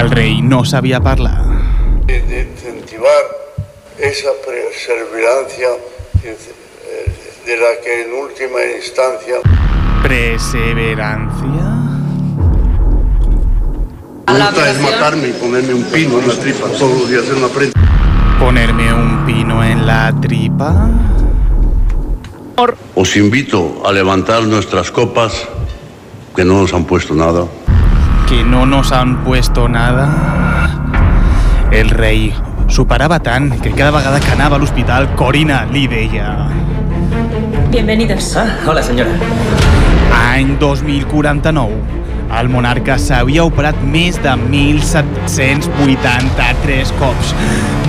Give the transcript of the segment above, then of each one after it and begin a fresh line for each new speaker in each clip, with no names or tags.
El rei no sabia parlar.
de, de incentivar esa perseverancia eh, de la que en última instancia
¿Perseverancia?
me gusta es matarme y ponerme un pino en la tripa todos los días en la frente.
¿Ponerme un pino en la tripa?
Os invito a levantar nuestras copas que no nos han puesto nada.
¿Que no nos han puesto nada? El rei s'ho parava tant que cada vegada que anava a l'hospital Corina li deia...
Bienvenidos.
Ah, hola señora.
Any 2049. El monarca s'havia operat més de 1.783 cops.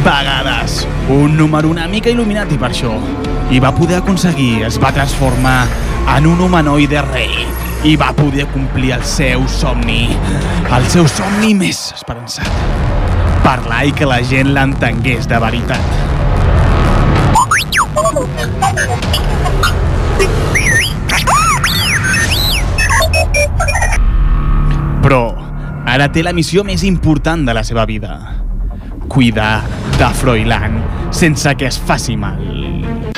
Vegades. Un número una mica il·luminat i per això. I va poder aconseguir, es va transformar en un humanoide rei i va poder complir el seu somni. El seu somni més esperançat. Parlar i que la gent l'entengués de veritat. Però ara té la missió més important de la seva vida. Cuidar de Froilán sense que es faci mal.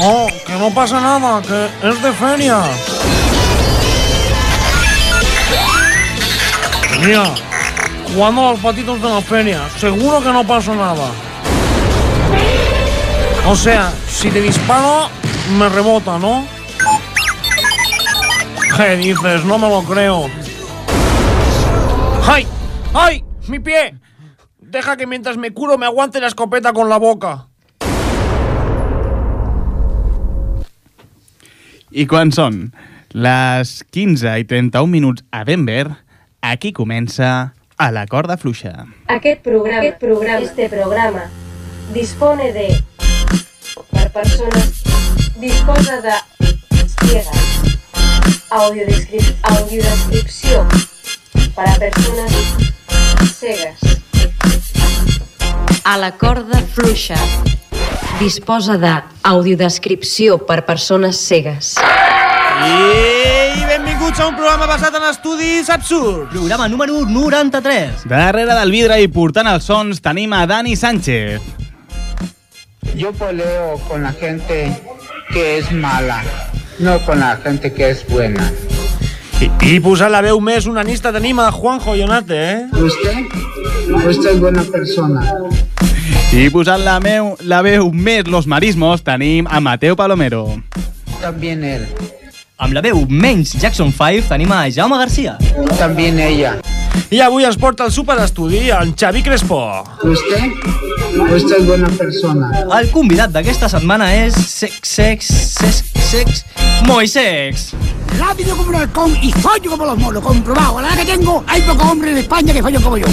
No, que no pasa nada, que es de feria. Mira, jugando a los patitos de la feria, seguro que no pasa nada. O sea, si te disparo, me rebota, ¿no? ¿Qué dices? No me lo creo. ¡Ay! ¡Ay! ¡Mi pie! Deja que mientras me curo me aguante la escopeta con la boca.
I quan són les 15 i 31 minuts a Denver, aquí comença a la corda fluixa.
Aquest programa, aquest programa, este programa, dispone de... Per persones, disposa de... Ciegas. Audiodescrip audiodescripció. Para persones cegas.
A la corda fluixa. Disposa de audiodescripció per persones cegues.
I benvinguts a un programa basat en estudis absurds.
Programa número 93.
Darrere del vidre i portant els sons tenim a Dani Sánchez.
Yo poleo con la gente que es mala, no con la gente que es buena.
I, i posar la veu més unanista tenim a Juanjo Ionate, eh?
¿Usted? Usted es buena persona.
I posant la, meu, la veu més los marismos tenim a Mateu Palomero.
También él.
Amb la veu menys Jackson 5 tenim a Jaume Garcia.
También ella.
I avui ens porta el superestudi en Xavi Crespo.
¿Usted? Usted es buena persona.
El convidat d'aquesta setmana és sex, sex, sex, sex, Moisex.
Rápido como un halcón y fallo como los monos, comprobado. A la edad que tengo, hay pocos hombres en España que fallan como yo.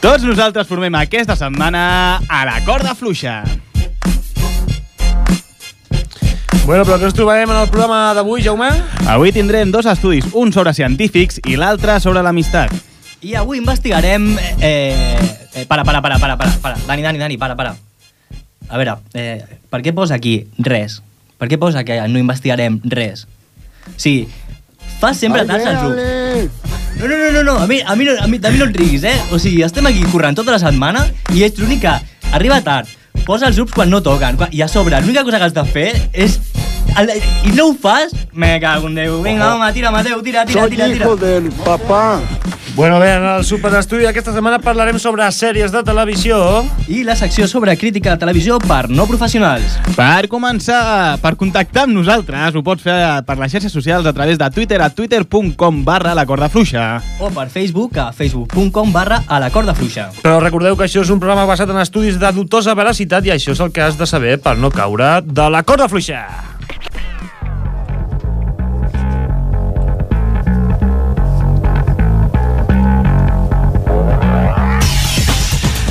Tots nosaltres formem aquesta setmana a la corda fluixa.
Bueno, però què ens trobarem en el programa d'avui, Jaume?
Avui tindrem dos estudis, un sobre científics i l'altre sobre l'amistat.
I avui investigarem... Eh, eh, para, para, para, para, para, para. Dani, Dani, Dani, para, para. A veure, eh, per què posa aquí res? Per què posa que no investigarem res? O sigui, fa sempre tants el joc. No, no, no, no, no. A, mi, a, mi no a, mi, de mi no et riguis, eh? O sigui, estem aquí corrent tota la setmana i ets l'únic que arriba tard, posa els grups quan no toquen, quan, i a sobre l'única cosa que has de fer és... El, I no ho fas? Me cago en Déu. Vinga, home, tira, Mateu, tira, tira, tira, tira.
del papá.
Bueno, bé, en el superestudi aquesta setmana parlarem sobre sèries de televisió.
I la secció sobre crítica de televisió per no professionals.
Per començar, per contactar amb nosaltres, ho pots fer per les xarxes socials a través de Twitter a twitter.com barra la corda fluixa.
O per Facebook a facebook.com barra a la corda fluixa.
Però recordeu que això és un programa basat en estudis de dubtosa veracitat i això és el que has de saber per no caure de la corda fluixa.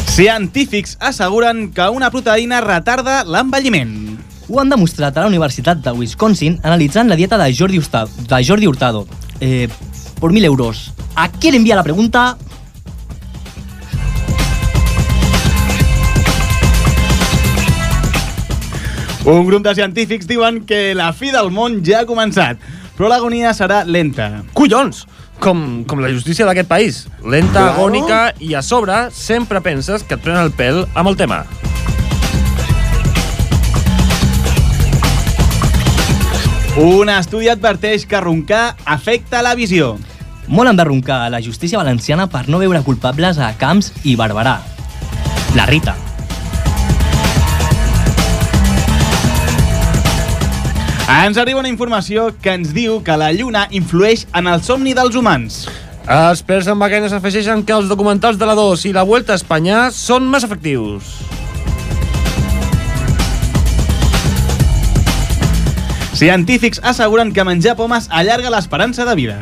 Científics asseguren que una proteïna retarda l'envelliment.
Ho han demostrat a la Universitat de Wisconsin analitzant la dieta de Jordi, Hurtado, de Jordi Hurtado. Eh, por mil euros. ¿A quién envía la pregunta?
Un grup de científics diuen que la fi del món ja ha començat, però l'agonia serà lenta.
Collons! Com, com la justícia d'aquest país. Lenta, agònica i a sobre sempre penses que et prenen el pèl amb el tema.
Un estudi adverteix que roncar afecta la visió.
Molt han de roncar a la justícia valenciana per no veure culpables a Camps i Barberà. La Rita.
Ens arriba una informació que ens diu que la lluna influeix en el somni dels humans.
Experts en vacaines afegeixen que els documentals de la 2 i la Vuelta a Espanya són més efectius.
Científics asseguren que menjar pomes allarga l'esperança de vida.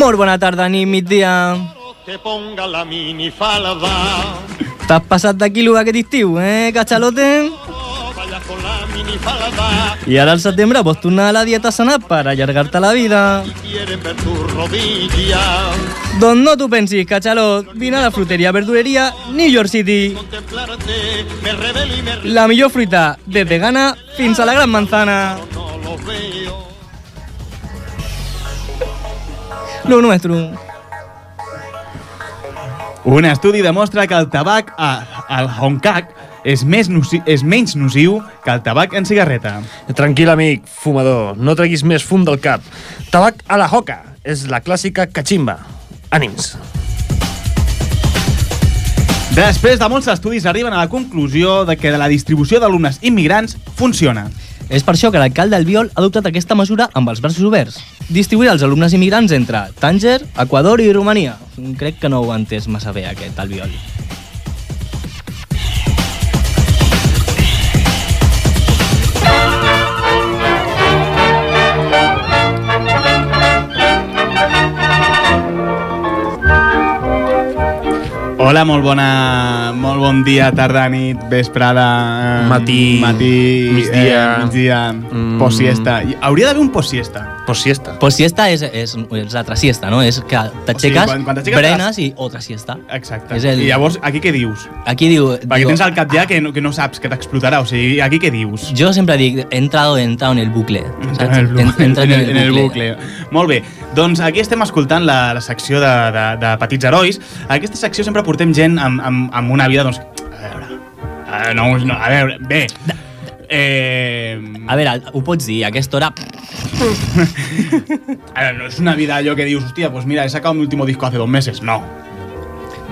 Molt bona tarda, ni migdia.
Te ponga la minifalda,
T'has passat de quilo aquest estiu, eh, cachalote?
vaya con la minifalda.
I ara al setembre pots tornar a pues la dieta sana per allargar-te la vida.
Quieren ver tu rodilla,
Doncs no t'ho pensis, cachalot. Vine a la fruteria verdureria New York City.
contemplarte, me revelo y me río,
La millor fruita, des de Ghana fins a la Gran Manzana.
no lo veo.
Lo nuestro.
Un estudi demostra que el tabac a, al Hongkong és, més noci és menys nociu que el tabac en cigarreta.
Tranquil, amic, fumador, no treguis més fum del cap. Tabac a la hoca és la clàssica cachimba. Ànims.
Després de molts estudis arriben a la conclusió de que la distribució d'alumnes immigrants funciona.
És per això que l'alcalde Albiol ha adoptat aquesta mesura amb els braços oberts. Distribuir els alumnes immigrants entre Tànger, Equador i Romania. Crec que no ho ha entès massa bé aquest Albiol.
Hola, molt bona... Molt bon dia, tarda, nit, vesprada... eh,
Matí,
matí
migdia.
eh, migdia
Mm.
post-siesta. I Hauria d'haver un post-siesta.
Por siesta.
Pues siesta és, és, és l'altra siesta, no? És que t'aixeques,
quan- quan t'aixeques
brenes i otra siesta.
Exacte.
És el-
I llavors, aquí què dius?
Aquí diu...
Perquè
diu-
tens al cap ja que no, que no saps que t'explotarà, o sigui, aquí què dius?
Jo sempre dic, he entrado, he entrado en el bucle. saps?
En el,
He
bucle, en,
entrado
el, en el bucle. Molt bé, doncs aquí estem escoltant la, la secció de, de, de Petits Herois. A aquesta secció sempre portem gent amb, amb, amb una vida, doncs... A veure... eh, No, no, a veure, bé... Eh,
A veure, ho pots dir, a aquesta hora...
a veure, no és una vida allò que dius, hòstia, pues mira, he sacat mi último disco hace dos meses. No.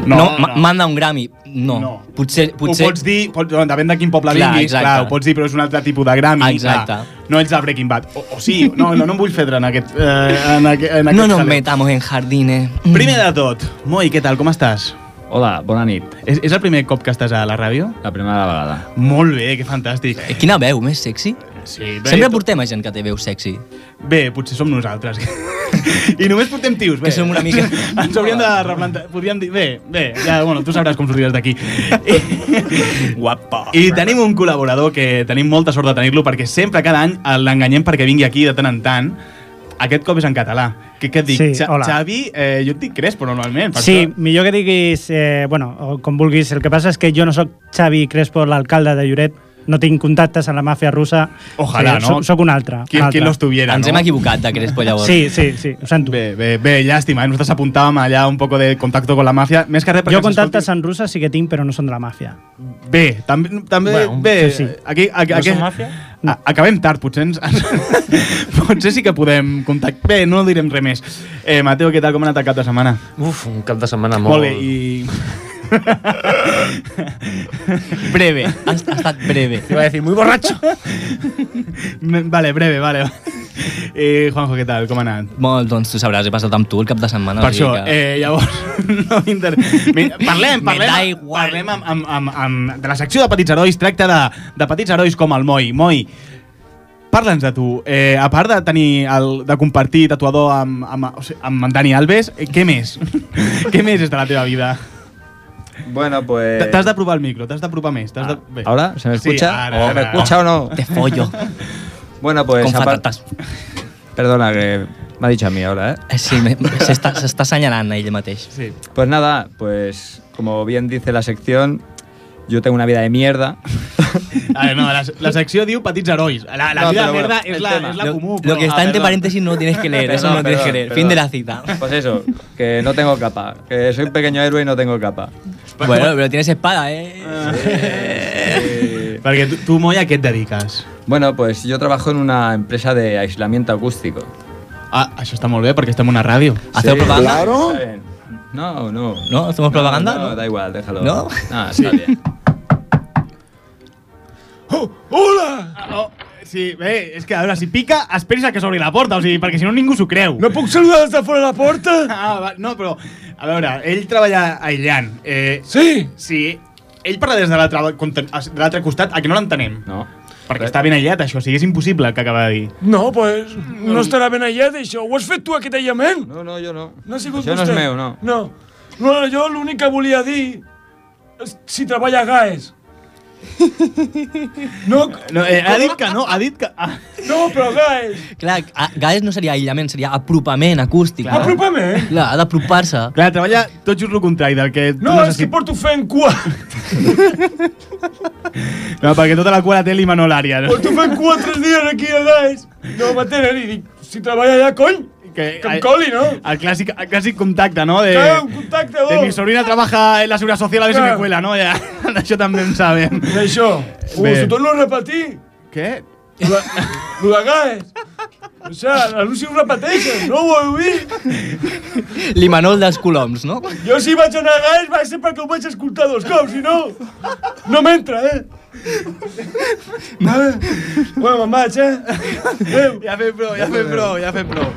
No, no, no. manda un Grammy. No.
No.
Potser,
Ho
potser...
pots dir, pot, no, depèn de quin poble
Clar,
vinguis,
exacte.
clar, ho pots dir, però és un altre tipus de Grammy.
Exacte.
Clar. No ets el Breaking Bad. O, o sí, no, no, no em vull fedre en aquest... Eh, en, aqu en aquest
No nos
jaleo.
metamos en jardines. Mm.
Primer de tot, Moi, què tal, com estàs?
Hola, bona nit.
És, és el primer cop que estàs a la ràdio?
La primera vegada.
Molt bé, que fantàstic.
Eh, Quina veu, més sexy?
Sí,
Bé, Sempre portem a gent que té veu sexy.
bé, potser som nosaltres. I només portem tios, bé.
Que som una mica-
Ens hauríem de replantar... Podríem dir... Bé, bé, ja, bueno, tu sabràs com sortiràs d'aquí.
Guapa.
I tenim un col·laborador que tenim molta sort de tenir-lo perquè sempre cada any eh, l'enganyem perquè vingui aquí de tant en tant. Aquest cop és en català. Què, què et dic?
Sí,
Xa-
hola.
Xavi, eh, jo et dic Crespo normalment. Per
Sí,
això-
millor que diguis, eh, bueno, o com vulguis. El que passa és que jo no sóc Xavi Crespo, l'alcalde de Lloret, no tinc contactes amb la màfia russa.
Ojalà,
sí,
no?
Sóc, sóc un altre.
Qui,
un altre.
qui los tuviera,
Ens
no?
hem equivocat de Crespo, llavors.
Sí, sí, sí, ho sento.
Bé, bé, bé, llàstima, eh? nosaltres apuntàvem allà un poco de contacto con la màfia, més que res perquè
jo
ens
contactes
escolti-
amb russes sí que tinc, però no són de la màfia.
Bé, també, també
Bueno,
bé,
sí, sí.
aquí... aquí,
No
aquí
som màfia?
A, acabem tard, potser ens... potser ¿eh? Pues sí que podem contactar... Bé, no direm res més. Eh, Mateo, què tal? Com ha anat el cap de setmana?
Uf, un cap de setmana
Molt
molt...
bé, i...
Breve. Ha, ha estat breve.
Te iba a decir, muy borracho.
Me- vale, breve, vale. Eh, Juanjo, què tal? Com ha anat?
Molt, doncs tu sabràs, he passat amb tu el cap de setmana.
Per
o sigui
això,
que...
eh, llavors, no m'inter... Mi- Parlem,
Me da
parlem,
igual.
parlem amb, amb, amb, amb, de la secció de petits herois, tracta de, de petits herois com el Moi. Moi, parla'ns de tu. Eh, a part de tenir el, de compartir tatuador amb, amb, o sigui, amb en Dani Alves, eh, què més? què més és de la teva vida?
Bueno, pues...
T- T'has d'apropar el micro, t'has d'apropar més. t'has De... Bé.
¿Ahora? Eh, ¿Se me
Sí,
escucha? ¿O
ara,
me
ara.
eh,
escucha o no?
Te follo.
Bueno, pues...
con
apar-
patatas.
Perdona, que M'ha dit a mi ahora, ¿eh?
Sí, se está, se está señalando ell mateix. Sí.
Pues nada, pues como bien dice la sección, yo tengo una vida de mierda.
A veure, no, la, la secció diu petits herois. La, la
No,
vida
però
de
bueno,
merda és
el
la,
tema.
és la
Lo-
comú.
Lo que
Ah,
está entre
perdón.
paréntesis no tienes que leer, eso
Perdón,
no tienes que
perdón,
leer.
perdón.
Fin de la cita.
Pues eso, que no tengo capa. Que soy un pequeño héroe y no tengo capa.
Bueno, pero tienes espada, ¿eh?
Perquè tu, tu Moya, a què et dediques?
Bueno, pues yo trabajo en una empresa de aislamiento acústico.
Ah, això està molt bé perquè estem a una ràdio.
¿Hacemos propaganda? Claro. No, no.
¿No? ¿Hacemos propaganda?
No, da igual, déjalo.
¿No?
Ah, está bien.
Hola! Oh, sí, bé, és que a veure, si pica, esperis a que s'obri la porta, o sigui, perquè si no ningú s'ho creu. No puc saludar des de fora la porta? Ah, va, no, però, a veure, ell treballa aïllant. Eh, sí? Sí. Ell parla des de l'altre conte- de l'altre costat, a que no l'entenem.
No.
Perquè està ben aïllat, això, o sigui, és impossible el que acaba de dir.
No, pues, no estarà ben aïllat, això. Ho has fet tu, aquest aïllament?
No, no, jo no.
No ha sigut
Això no és
vostè?
meu, no.
No. No, jo l'únic que volia dir és si treballa a GAES. No,
no eh, ha dit que no, ha dit que... Ah.
No, però GAES.
Clar, a- Gaes no seria aïllament, seria apropament acústic.
Ah.
Clar. Apropament?
Clar, ha d'apropar-se.
Clar, treballa tot just el contrari del que
No, és que porto fent cua.
No, perquè tota la cua la té l'Imanol Arias.
Porto fent cua tres dies aquí a GAES. No m'atenen i dic, si treballa allà, cony,
que,
que em coli, no?
El clàssic, el clàssic contacte, no? De,
Clar, un contacte,
de
bo.
mi sobrina trabaja en la Seguridad Social, a ver si
Clar.
me cuela, no? Ja, d'això també en sabem.
D'això. Ho,
Bé.
s'ho torno a repetir.
Què?
Lo de- lo de GAES. O sigui, l'anunci ho repeteixen, no ho heu vist?
L'Imanol dels coloms, no?
Jo si vaig anar a GAES va ser perquè ho vaig escoltar dos cops, si no, no m'entra, eh? Vale. Bueno, me'n vaig, eh? Adéu.
Ja fem prou, ja fem prou, ja fem prou.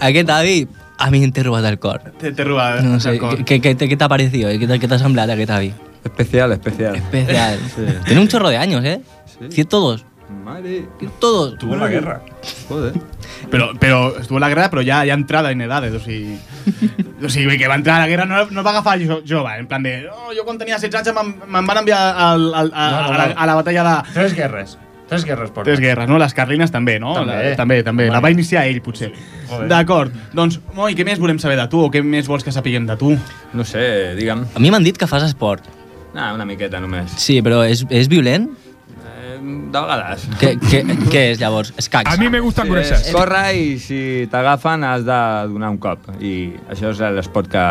Aquest avi a mi em té robat el cor.
Te, eh, te robat
No sé, què- què- què t'ha parecido? eh? Què t'ha- què t'ha semblat aquest avi?
Especial, especial.
Especial.
Sí.
Tiene un chorro de años, ¿eh?
Sí.
102.
Madre.
Todos.
Tuvo la guerra.
Joder.
Pero, pero estuvo en la guerra, pero ya, ya entrada en edades, o sigui... O sigui, que va entrar a la guerra no, no va agafar jo, jove, en plan de... Oh, jo quan tenia 16 anys me'n me'n van enviar al, al, a,
No, no,
a, la,
no.
a la batalla de...
Tres guerres. Tres guerres porta.
Tres guerres, no? Les carlines també, no?
També.
La, també, també. La va iniciar ell, potser.
Joder.
D'acord. Doncs, Moi, què més volem saber de tu o què més vols que sapiguem de tu?
No sé, digue'm.
A mi m'han dit que fas esport.
Ah, una miqueta només.
Sí, però és, és violent?
Eh, de vegades.
Què, què, què és, llavors? Escacs?
gustan grueses. Corre i si t'agafen has de donar un cop. I això és l'esport que,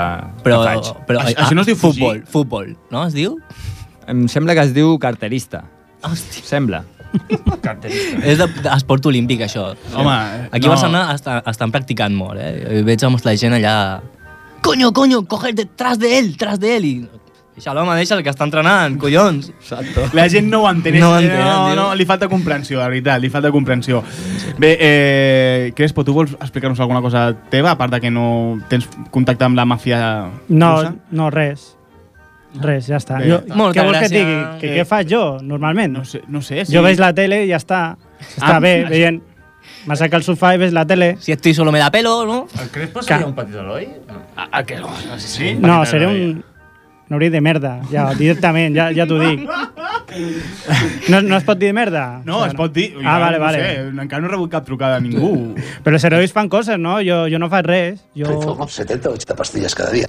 Però,
que faig.
però, ah, futbol,
fugir?
futbol, no? Es diu?
Em sembla que es diu carterista.
Hòstia.
Sembla.
És de- d'esport olímpic, això.
Home,
Aquí
no.
a Barcelona estan, estan practicant molt, eh? Veig amb la gent allà... Coño, coño, coge detrás de él, tras de él. I... Deixa l'home, deixa el que està entrenant, collons.
Exacto.
La gent no ho entén.
No ho
eh,
entén,
no,
tio.
no, li falta comprensió, la veritat, li falta comprensió. Bé, eh, Crespo, tu vols explicar-nos alguna cosa teva, a part de que no tens contacte amb la màfia
No,
russa?
no, res. Res, ja està.
Bé,
Jo,
molta
què vols que et
gràcia.
digui? Que,
Eh,
què faig jo, normalment? No
sé, no sé.
Sí. Jo veig la tele i ja està. Està
Ah,
bé,
això-
veient. M'assaca el sofà i veig la tele.
Si estoy solo me da pelo, ¿no?
El Crespo
seria
un petit heroi?
Ah, que no. Sí?
No, seré un... Un hauria de merda, ja, directament, ja, ja t'ho dic. No, no es pot dir merda?
No, es pot dir...
Ah, vale,
no
vale.
Sé, encara no he rebut cap trucada a ningú.
Però els herois fan coses, no? Jo, jo no faig res. Jo...
70 o 80 pastillas cada día.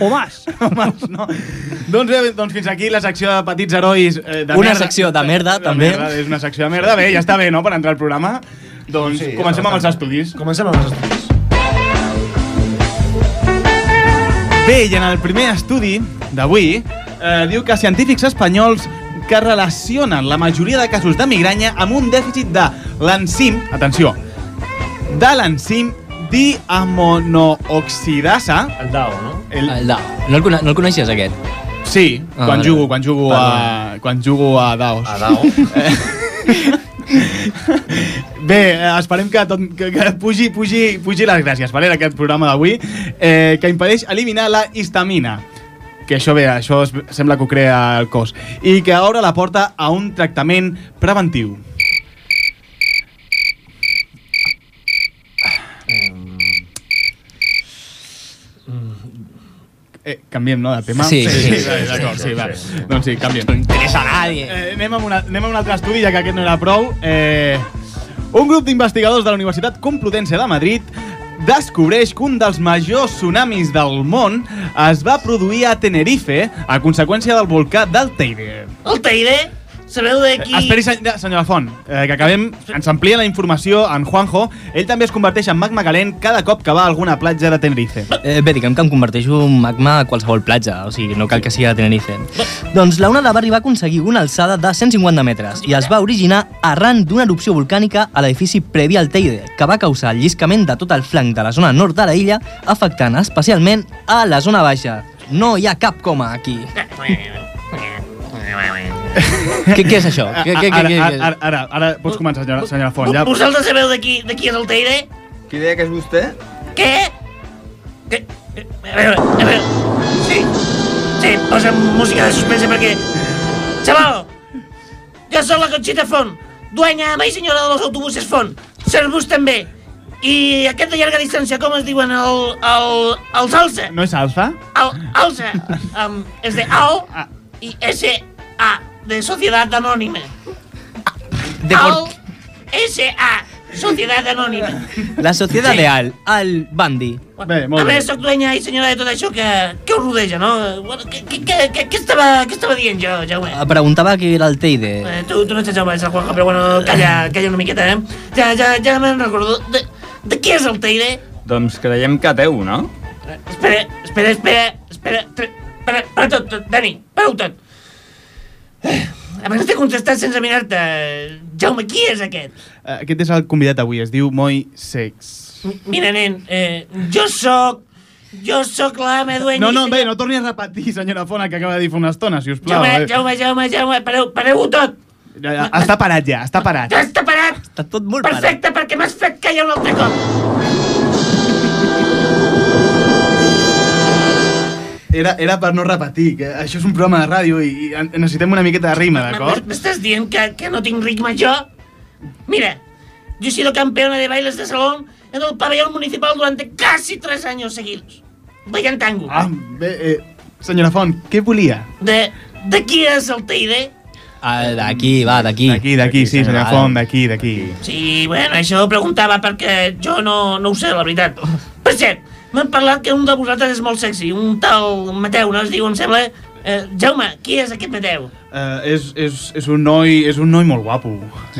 O más.
Ah. o más, no. Doncs bé, doncs fins aquí la secció de petits herois eh, de
Una
merda.
secció de merda, també.
merda, és una secció de merda. Bé, ja està bé, no?, per entrar al programa. Doncs
Sí,
sí, comencem
no,
amb els
tant.
estudis.
Comencem amb els estudis.
Bé, i en el primer estudi d'avui eh, diu que científics espanyols que relacionen la majoria de casos de migranya amb un dèficit de l'enzim, atenció, de l'enzim diamonooxidasa.
El DAO, no?
El,
el DAO. No el, cone- no el coneixies, aquest?
Sí,
Ah,
quan
vale.
jugo, quan jugo a, quan jugo a daos. A
dao.
Bé, eh, esperem que, tot, que, que pugi, pugi, pugi les gràcies, vale, en aquest programa d'avui, eh, que impedeix eliminar la histamina que això ve, això es, sembla que ho crea el cos, i que obre la porta a un tractament preventiu. Eh, canviem, no, de tema?
Sí, sí, sí,
vale,
sí,
D'acord,
sí,
sí,
sí,
va.
sí.
Doncs sí, canviem.
interessa a nadie.
Eh, anem, amb una, anem amb un altre estudi, ja que aquest no era prou. Eh, Un grup d'investigadors de la Universitat Complutense de Madrid descobreix que un dels majors tsunamis del món es va produir a Tenerife a conseqüència del volcà del Teide.
El Teide? Sabeu de qui...
Eh, Esperi, seny- senyora Font, eh, que acabem... Ens amplia la informació en Juanjo. Ell també es converteix en magma calent cada cop que va a alguna platja de Tenerife.
Eh, bé, diguem que em converteixo en magma a qualsevol platja, o sigui, no cal que sigui a Tenerife. Doncs la onada va arribar a aconseguir una alçada de 150 metres i es va originar arran d'una erupció volcànica a l'edifici previ al Teide, que va causar el lliscament de tot el flanc de la zona nord de la illa, afectant especialment a la zona baixa. No hi ha cap coma aquí. què, què és això? Què, què, què,
ara,
què,
ara,
què és?
ara, ara, ara pots començar, senyora, senyora Font. Ja...
Vosaltres sabeu de qui, de qui és el Teide?
Qui deia que és vostè?
Què? Què? A veure, a veure... Sí, sí, posa'm música de suspense perquè... Chaval, jo sóc la Conxita Font, duenya ama i senyora dels autobusos Font, servus també. I aquest de llarga distància, com es diuen? El, el, el salsa?
No és alfa?
Al, alsa. Um, és de AO i S-A, de Societat Anònima.
De
AO, S-A, Societat Anònima.
La societat sí. leal, al bandi.
Bé,
a veure, soc duenya i senyora de tot això que, que us rodeja, no? Bueno, què, què, què, què, què, estava, què estava dient jo, Jaume?
Preguntava qui era el Teide.
Eh, tu, tu no ets el Jaume, és el Juanjo, però bueno, calla, calla una miqueta, eh? Ja, ja, ja me'n recordo. De, de qui és el Teire?
Doncs creiem que ateu, no?
Espera, espera, espera, espera, tre- espera, para tot, tot, Dani, para-ho tot. Eh, Abans de contestar sense mirar-te, Jaume, qui és aquest?
Eh, Aquest és el convidat avui, es diu Moi Sex.
Mira, nen, eh, jo sóc... Jo sóc l'ama duenya...
No, no,
i
bé, no torni a repetir, senyora Font, el que acaba de dir fa una estona, si us plau.
Jaume,
Eh,
Jaume, Jaume, Jaume, pareu, pareu-ho tot.
ja, ja, Està parat ja, està parat.
Ja està parat.
Està tot molt
Perfecte, perquè m'has fet callar un altre cop.
Era, era per no repetir, que això és un programa de ràdio i, i en- necessitem una miqueta de rima, d'acord?
M'estàs dient que, que no tinc ritme jo? Mira, yo he sido campeona de bailes de salón en el pabellón municipal durante casi tres años seguidos. Bailant tango.
Ah, bé, eh, senyora Font, què volia?
De, de qui és el Teide?
Ah, D'aquí, va, d'aquí.
D'aquí, d'aquí, sí, senyora Font, d'aquí, d'aquí.
Sí, bueno, això ho preguntava perquè jo no, no ho sé, la veritat. Per cert, m'han parlat que un de vosaltres és molt sexy, un tal Mateu, no es diu, em sembla... Eh, Jaume, qui és aquest Mateu?
Eh, és, és, és, un noi, és un noi molt guapo.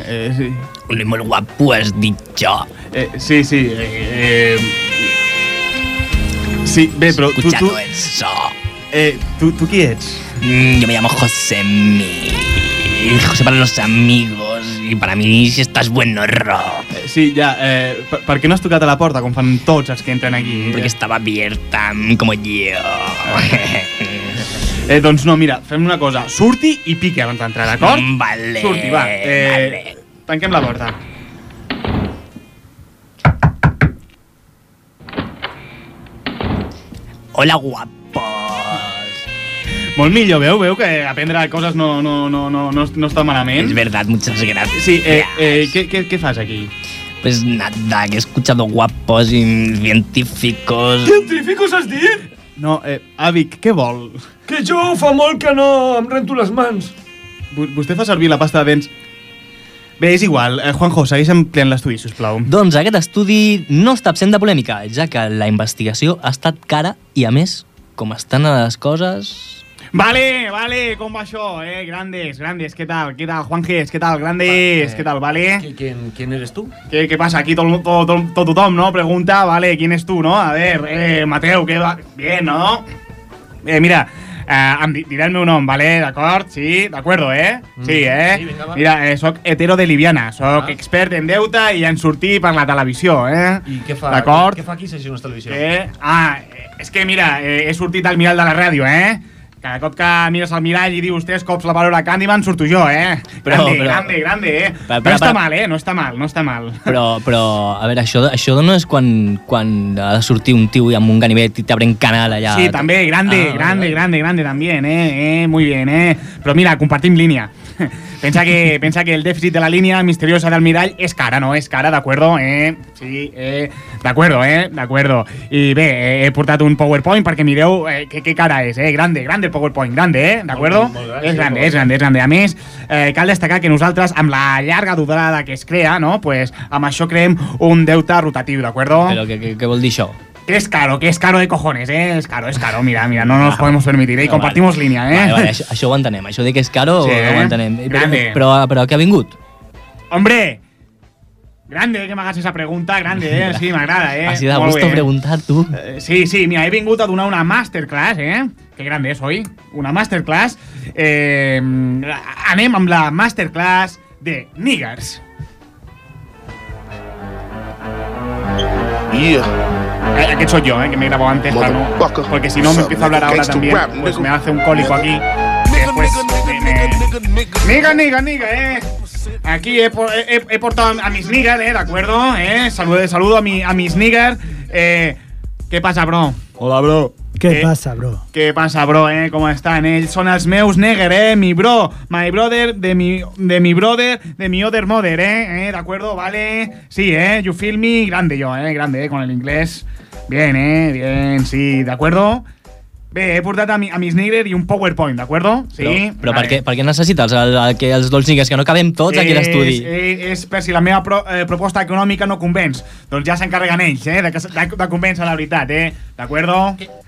Eh, sí.
Un noi molt guapo has dit jo.
Eh, sí, sí. Eh, eh, sí, bé, però tu... tu
Escuchado eso.
eh, tu, tu qui ets?
Mm, yo me llamo José Mi. José para los amigos y para mí si estás bueno rock.
Eh, sí, ja, eh, per, per què no has tocat a la porta com fan tots els que entren aquí?
Porque estaba abierta mm, como yo.
Eh, doncs no, mira, fem una cosa. Surti i pique abans d'entrar, d'acord?
Mm, vale,
Surti, va. Eh, Tanquem la porta.
Hola, guapo.
Molt millor, veu? Veu que aprendre coses no, no, no, no, no, no està malament?
Es verdad, muchas gracias.
Sí, eh, eh, què, què, què fas aquí?
Pues nada, que he escuchado guapos y científicos.
Científicos has dit?
No, eh, avi, què vol?
Que jo fa molt que no em rento les mans.
Vo- Vostè fa servir la pasta de dents... Bé, és igual. Eh, Juanjo, segueix ampliant l'estudi, sisplau.
Doncs aquest estudi no està absent de polèmica, ja que la investigació ha estat cara i, a més, com estan a les coses...
Vale, vale, com va això, eh? Grandes, grandes, què tal? Què tal, Juanjes? Què tal, grandes? Què tal, vale?
¿Quién, quién eres tú?
Què, què passa? Aquí tot, tot, tot, tot tothom, no? Pregunta, vale, ¿quién és tu, no? A ver, eh, Mateu, què va? Bien, no? Eh, mira, eh, em di- diré el meu nom, vale? D'acord? Sí? D'acuerdo, eh? Sí, eh?
Mm. Sí, vinga, va. Ah.
Mira, eh, soc hetero de Liviana, soc expert en deute i en sortir per la televisió, eh?
I què fa,
D'acord?
què fa aquí Sessions Televisió?
Eh? Ah, eh, és que mira, eh, he sortit al mirall de la ràdio, eh? Cada cop que mires al mirall i dius tres cops la paraula Candyman, surto jo, eh?
Però-
grande,
però-
grande, grande, eh?
Però-
no
però-
està
però-
mal, eh? No està mal, no està mal.
Però, però a veure, això, això no és quan, quan ha de sortir un tio amb un ganivet i t'abren canal allà.
Sí, també, grande,
Ah,
grande, grande, grande también, eh, eh, muy bien, eh. Pero mira, compartim línea. Pensa que, pensa que el déficit de la línea misteriosa del Miral es cara, ¿no? Es cara, ¿de acuerdo? Eh, sí, eh, de acuerdo, eh, de acuerdo. Y ve, eh, he portat un PowerPoint perquè mireu eh, que, que cara és, eh, grande, grande el PowerPoint grande, eh? D'acord?
molt gran,
És
sí,
grande,
molt
és grande, és grande. A més, eh, cal destacar que nosaltres, amb la llarga durada que es crea, no? pues, amb això creem un deute rotatiu, d'acord?
Però què, què, què vol dir això?
Que es caro, que es caro de cojones, eh? Es caro, es caro, mira, mira, no nos podemos permitir, eh? Y compartimos línea, eh?
Vale, vale, això, això ho entenem, això de que és caro
Sí,
ho
eh?
entenem. Però,
Grande.
però, però què ha vingut?
Hombre, grande ¿eh? que me hagas esa pregunta, grande, eh? Sí, m'agrada, eh?
Així de
Molt
gusto
bé.
preguntar, tu.
Eh, Sí, sí, mira, he vingut a donar una masterclass, eh? Que grande soy. Una masterclass. Eh, anem amb la masterclass de niggers. Yeah. Aquest soy yo, eh, que me he grabado antes para no... Porque si no me empiezo a hablar ahora también, pues me hace un cólico aquí.
Pues,
Después me- me- Niga, niga, niga, eh. Aquí he, por- he- he- he portado a mis niggas, eh, ¿de acuerdo? Eh, saludo, saludo a, mi, a mis niggas. Eh, ¿Qué pasa, bro?
Hola, bro.
Eh,
Què passa, bro?
Què passa, bro, eh? Com estan? Ells són els meus negger, eh? Mi bro, my brother, de mi, de mi brother, de mi other mother, eh? eh? ¿De acuerdo? Vale. Sí, eh? You feel me? Grande yo, eh? Grande, eh? Con el inglés. Bien, eh? Bien, sí. ¿De acuerdo? Bé, he portat a, mi, a mis negger i un PowerPoint, ¿de acuerdo? Sí.
Però, però
Vale.
per, què, per què necessites el, el, que els dolçingues, que no cabem tots aquí a l'estudi?
És, és, és per si la meva pro, eh, proposta econòmica no convenç. Doncs ja s'encarreguen ells, eh? De, que s- de, de convèncer la veritat, eh? D'acuerdo?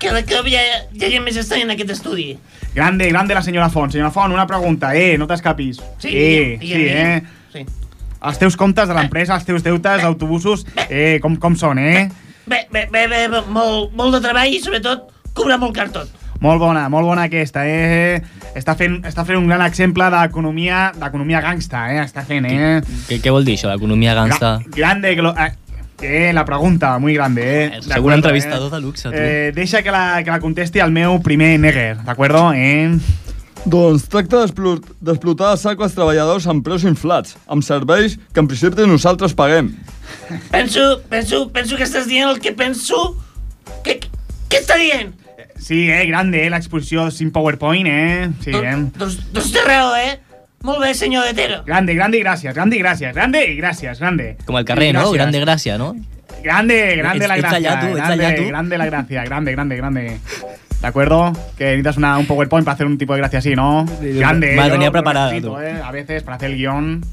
Cada cop hi ha, hi ha gent més estrany en aquest estudi.
Grande, grande la senyora Font. Senyora Font, una pregunta, eh, no t'escapis.
Sí,
eh,
digue'm,
sí,
digue'm,
eh.
digue'm. Sí.
Els teus comptes de l'empresa, els teus deutes, autobusos, eh, com, com són, eh?
Bé, bé, bé, bé bé, molt, molt de treball i sobretot cobrar molt car tot.
Molt bona, molt bona aquesta, eh? Està fent, està fent un gran exemple d'economia d'economia gangsta, eh? Està fent, eh?
Què, què vol dir això, l'economia gangsta?
Grande, glo- eh, eh, la pregunta, muy grande, eh?
Segur un entrevistador de luxe, tu.
Eh, deixa que la, que la contesti el meu primer negger, d'acord? Eh?
Doncs tracta d'explo- d'explotar a sac els treballadors amb preus inflats, amb serveis que en principi nosaltres paguem.
Penso, penso, penso que estàs dient el que penso... Què, què està dient?
Sí, eh? Grande, eh? L'exposició sin PowerPoint, eh? Sí, eh?
Doncs té raó, eh? Molt bé, senyor de Tero.
Grande, grande y gracias, grande y gracias, grande y gracias, grande.
Com al carrer, no? Grande gràcia, no?
Grande, grande
Ets-
la
ets
gracia.
allá tú, ets
grande,
allá tú.
grande la gracia, grande, grande, grande. ¿De acuerdo? Que necesitas una- un PowerPoint para hacer un tipo de gracia así, ¿no? Grande.
me la
yo
tenía
lo
preparada,
necesito,
tú.
¿eh? A veces para hacer el guión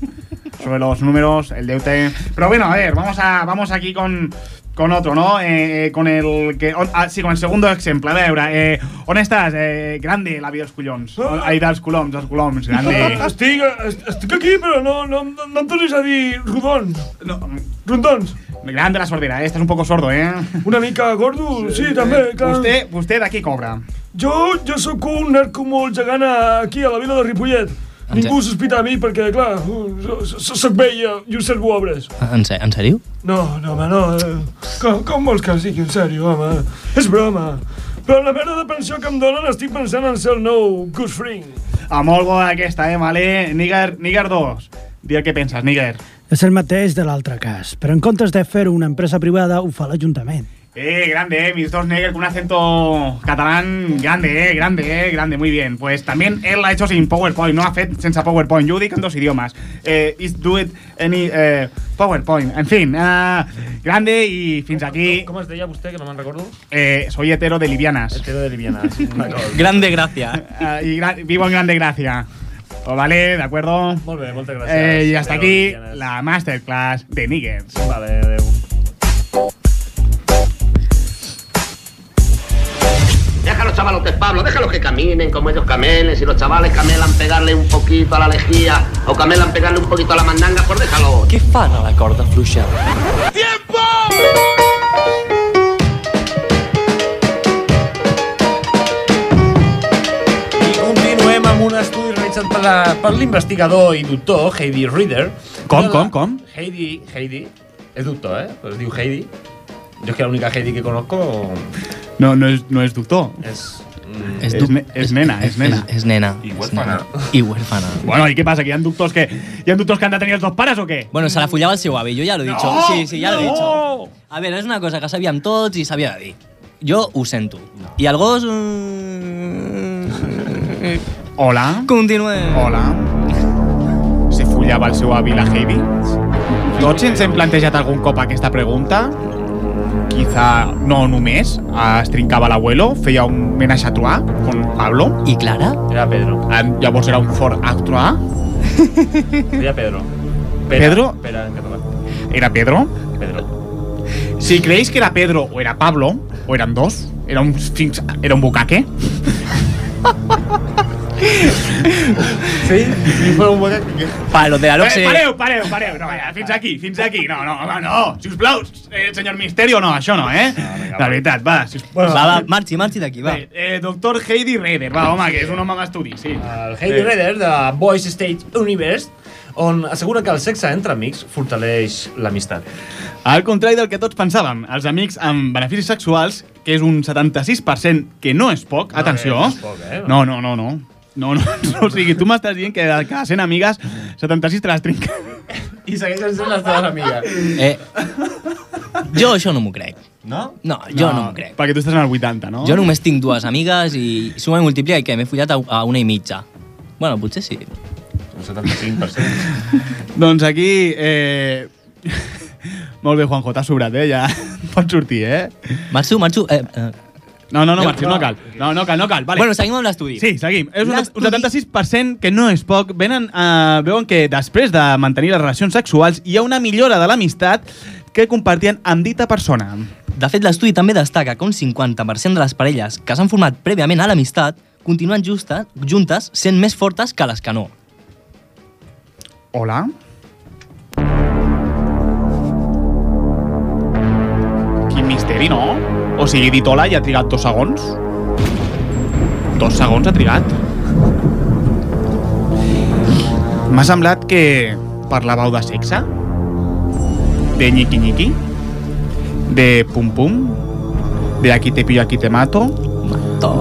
sobre los números, el deute. Pero bueno, a ver, vamos, a, vamos aquí con, con otro, ¿no? Eh, eh, con el que. on- ah, sí, con el segundo ejemplo. A ver, Eura, eh, ¿dónde estás? Eh, grande la vida de los culoms. Ahí da los culoms, los culoms, grande.
Estic, est- estic aquí, però no, no, no, no em tornis a dir rodons. No. Rondons.
Grande la sordera, eh? Estás un poco sordo, ¿eh?
Una mica gordo, sí, també, clar.
Vostè, vostè d'aquí cobra.
Jo, jo sóc un narco molt gegant aquí, a la vila de Ripollet. Ningú sospita de mi perquè, clar, so- so- sóc vell eh, i us servo obres.
En, se- en sèrio?
No, no, home, no. eh, Com, com vols que sigui, en sèrio, home? És broma. Però amb la merda de pensió que em donen estic pensant en ser el nou Goose Fring.
A molt bona aquesta, eh, vale? Níger, Níger 2. Dir el que penses, Níger.
És el mateix de l'altre cas, però en comptes de fer-ho una empresa privada, ho fa l'Ajuntament.
Eh, grande, eh, mis dos Níger con un acento catalán grande, eh, grande, eh, grande, muy bien. Pues también él la ha hecho sin PowerPoint, no ha fet sense PowerPoint, yo dic en dos idiomas. Eh, is do it any eh, PowerPoint, en fin, eh, grande y fins aquí.
Com es deia vostè, que no me'n recordo?
Eh, soy hetero de livianas.
Hetero de livianas, d'acord.
Grande gracia.
Ah, y gra- vivo en grande gracia. O vale, de acuerdo. Molt
bé, moltes
gràcies.
Eh, I hasta
Adeu,
aquí
Diana.
la masterclass de Niggers.
Vale, adeu.
Deja a los chavalotes, Pablo, déjalos que caminen como ellos camelen. Si los chavales camelan pegarle un poquito a la lejía o camelan pegarle un poquito a la mandanga, pues déjalo.
Què fan a la corda fluixa?
Continuem amb un estudi realitzat per, la, per l'investigador i doctor Heidi Reader.
Com, com, com?
Heidi, Heidi, és doctor, eh? Però es diu Heidi. Jo és que l'única Heidi que conozco
No, no es, no es doctor.
és...
Es, ne- es nena, es nena.
És, és nena.
I
huérfana.
I huérfana.
Bueno, ¿y qué pasa? ¿Que ya han ductos que, ya han ductos que han de tener los dos pares o qué?
Bueno, se la follaba el seu avi, jo ja l'he
No,
dit. sí, sí, ja l'he
no.
dit. A veure, és una cosa que sabíem tots i sabia de dir. Jo ho sento. I el gos... mm,
Hola.
Continuem.
Hola. Se follava el seu avi la Heidi? Tots ens hem plantejat algun cop aquesta pregunta? quizá no només, eh, es trincava l'abuelo, feia un menage a trois con Pablo.
I Clara?
Era Pedro. Eh, llavors era un fort a trois.
Deia Pedro.
Pedro?
Pere, en català.
Era Pedro.
Pedro.
Si creéis que era Pedro o era Pablo, o eran dos, era un, sphinx- era un bucaque.
Sí, si fos un bucaque...
Palo de la
Eh,
Loxe.
pareu, pareu, pareu. No, ja, fins aquí, fins aquí. No, no, va, no. Si us plau, eh, senyor Misterio, no, això no, eh? La veritat, va. Si us...
Va, va, marxi, marxi d'aquí, va.
Eh, eh, doctor Heidi Reder, va, home, que és un home amb estudi, sí. Eh,
El Heidi Raider de Voice State Universe on assegura que el sexe entre amics fortaleix l'amistat.
Al contrari del que tots pensàvem, els amics amb beneficis sexuals, que és un 76%, que no és poc,
No,
atenció.
eh, no és poc, eh?
No, no, no, no. No, no, no, o sigui, tu m'estàs dient que de cada 100 amigues, 76 te les trinques.
I segueixen sent les teves amigues.
Eh, jo això no m'ho crec.
No?
No, jo no, m'ho crec.
Perquè tu estàs en el 80, no?
Jo només tinc dues amigues i suma i multiplica i que m'he follat a, a una i mitja. Bueno, potser sí.
Un 75%.
Doncs aquí... Eh... Molt bé, Juanjo, t'has sobrat, eh? Ja pots sortir, eh?
Marxo, marxo... Eh, eh.
No, no, no,
Anem,
Marxi, no
no.
cal. No, no cal, no cal. Vale.
Bueno, seguim amb l'estudi.
Sí, seguim. És un,
L'estudi-
un 76% que no és poc. Venen, eh, veuen que després de mantenir les relacions sexuals hi ha una millora de l'amistat que compartien amb dita persona.
De fet, l'estudi també destaca que un 50% de les parelles que s'han format prèviament a l'amistat continuen justes, juntes sent més fortes que les que no.
Hola? Quin misteri, no? O sigui, dit hola i ha trigat dos segons. Dos segons ha trigat. M'ha semblat que parlàveu de sexe? De nyiqui-nyiqui? De pum-pum? De aquí te pillo, aquí te mato?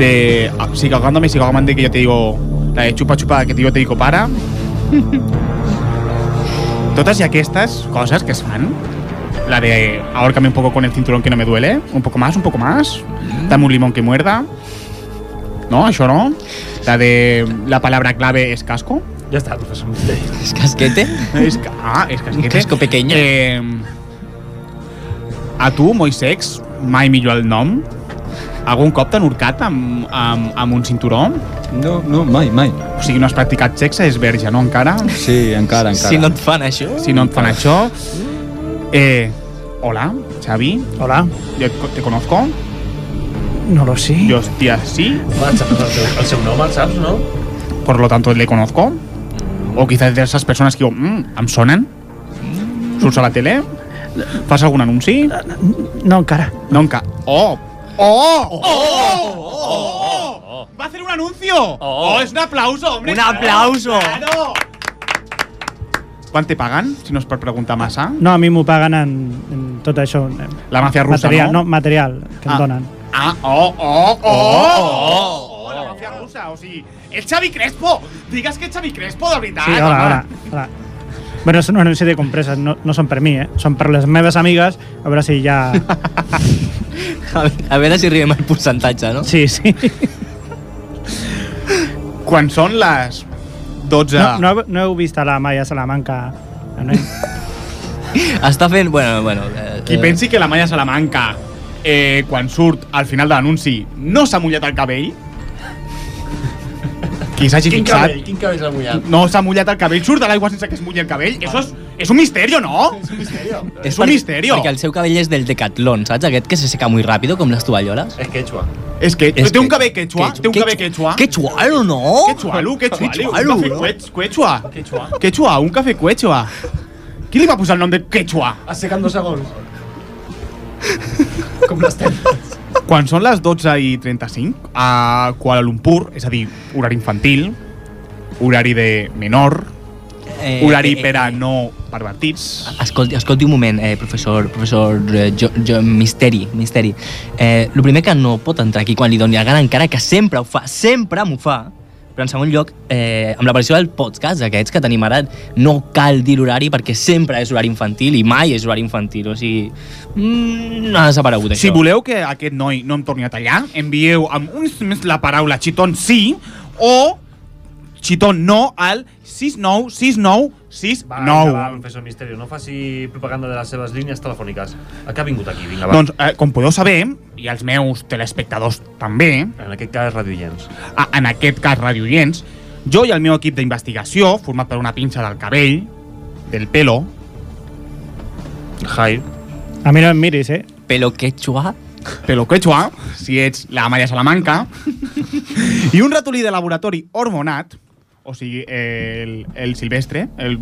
De ah, sigue ahogándome, sigue ahogándome, que yo te digo... La de chupa-chupa, que yo te digo para... Todas y aquestas cosas que es fan, la de ahorcame un poco con el cinturón que no me duele, un poco más, un poco más, dame un limón que muerda, no, això no, la de la palabra clave es casco,
Ja està, professor Misteri.
És casquete?
es ca- ah, es casquete.
Un casco pequeño.
Eh, a tu, Moisex, mai millor el nom, algun cop t'han urcat amb, amb, amb un cinturó?
No, no, mai, mai.
O sigui, no has practicat sexe, és verge, no, encara?
Sí, encara, encara.
Si no et fan això...
Si no et fan això... Eh, hola, Xavi.
Hola.
Yo te conozco.
No lo sé.
Yo, hostia, sí.
El, seu, el seu nom el saps, no?
Por lo tanto, le conozco. O quizás de esas personas que digo, mm, em sonen. Surts a la tele? Fas algun anunci?
No, encara.
No, enca... Oh! ¡Oh! ¡Oh! ¡Oh! ¡Va a hacer un anuncio! ¡Oh! ¡Es un aplauso, hombre!
¡Un aplauso!
¡Claro! ¿Cuánto te pagan? Si nos per preguntar massa.
No, a mi m'ho paguen en, en tot això. en-
La màfia russa,
material,
no?
no? material que
Ah.
em donen.
Ah, oh, oh, oh, oh, oh, la mafia russa, o sigui, és Xavi Crespo, digues que és Xavi Crespo, de veritat.
Sí, hola, hola, hola. Bueno, és un anunci de compreses, no, no són per mi, eh? Són per les meves amigues, a veure si ja...
A veure, a veure si arribem al percentatge, no?
Sí, sí.
Quan són les 12...
No, no, no heu vist a la Maia Salamanca... No,
Està fent... Bueno, bueno... Eh,
Qui pensi que la Maya Salamanca, eh, quan surt al final de l'anunci, no s'ha mullat el cabell, qui s'hagi
Quin
fixat...
cabell, quin cabell s'ha mullat?
No s'ha mullat el cabell, surt de l'aigua sense que es mulli el cabell. Eso és, és un misterio, no?
És un misteri.
És un
per-
misterio.
eh, Perquè el seu cabell és del Decathlon, saps? Aquest que se seca muy ràpido, com les tovalloles.
És quechua.
És que
És
té un
que-
cabell quechua, té un cabell quechua.
Que chualo, no?
Que xualo, que xualo,
xualo,
un cafè
no?
quech- quechua.
Quechua.
Quechua, un cafè quechua. Qui li va posar el nom de quechua?
Es seca en dos segons. Com les teves.
Quan són les 12 i 35 a Kuala Lumpur, és a dir, horari infantil, horari de menor,
Eh,
horari
eh, eh,
per a no pervertits...
Escolti, escolti un moment, eh, professor, professor eh, jo, jo, Misteri, Misteri. Eh, el primer que no pot entrar aquí quan li doni la gana, encara que sempre ho fa, sempre m'ho fa, però en segon lloc, eh, amb l'aparició del podcast aquests que tenim ara, no cal dir horari perquè sempre és horari infantil i mai és horari infantil, o sigui, mm, no ha desaparegut això.
Si voleu que aquest noi no em torni a tallar, envieu amb un SMS la paraula xitón sí o xitó no al 69 69 69.
Va, vinga, va, Confesso Misterio, no faci propaganda de les seves línies telefòniques. A què ha vingut aquí? Vinga, va.
Doncs, eh, com podeu saber, i els meus telespectadors també... En aquest cas, radioients. A, en aquest cas, radioients, jo i el meu equip d'investigació, format per una pinça del cabell, del pelo... Hi.
A mi no em miris, eh?
Pelo quechua. Pelo quechua, si ets la Maria Salamanca. I un ratolí de laboratori hormonat, o sigui, eh, el, el silvestre, el,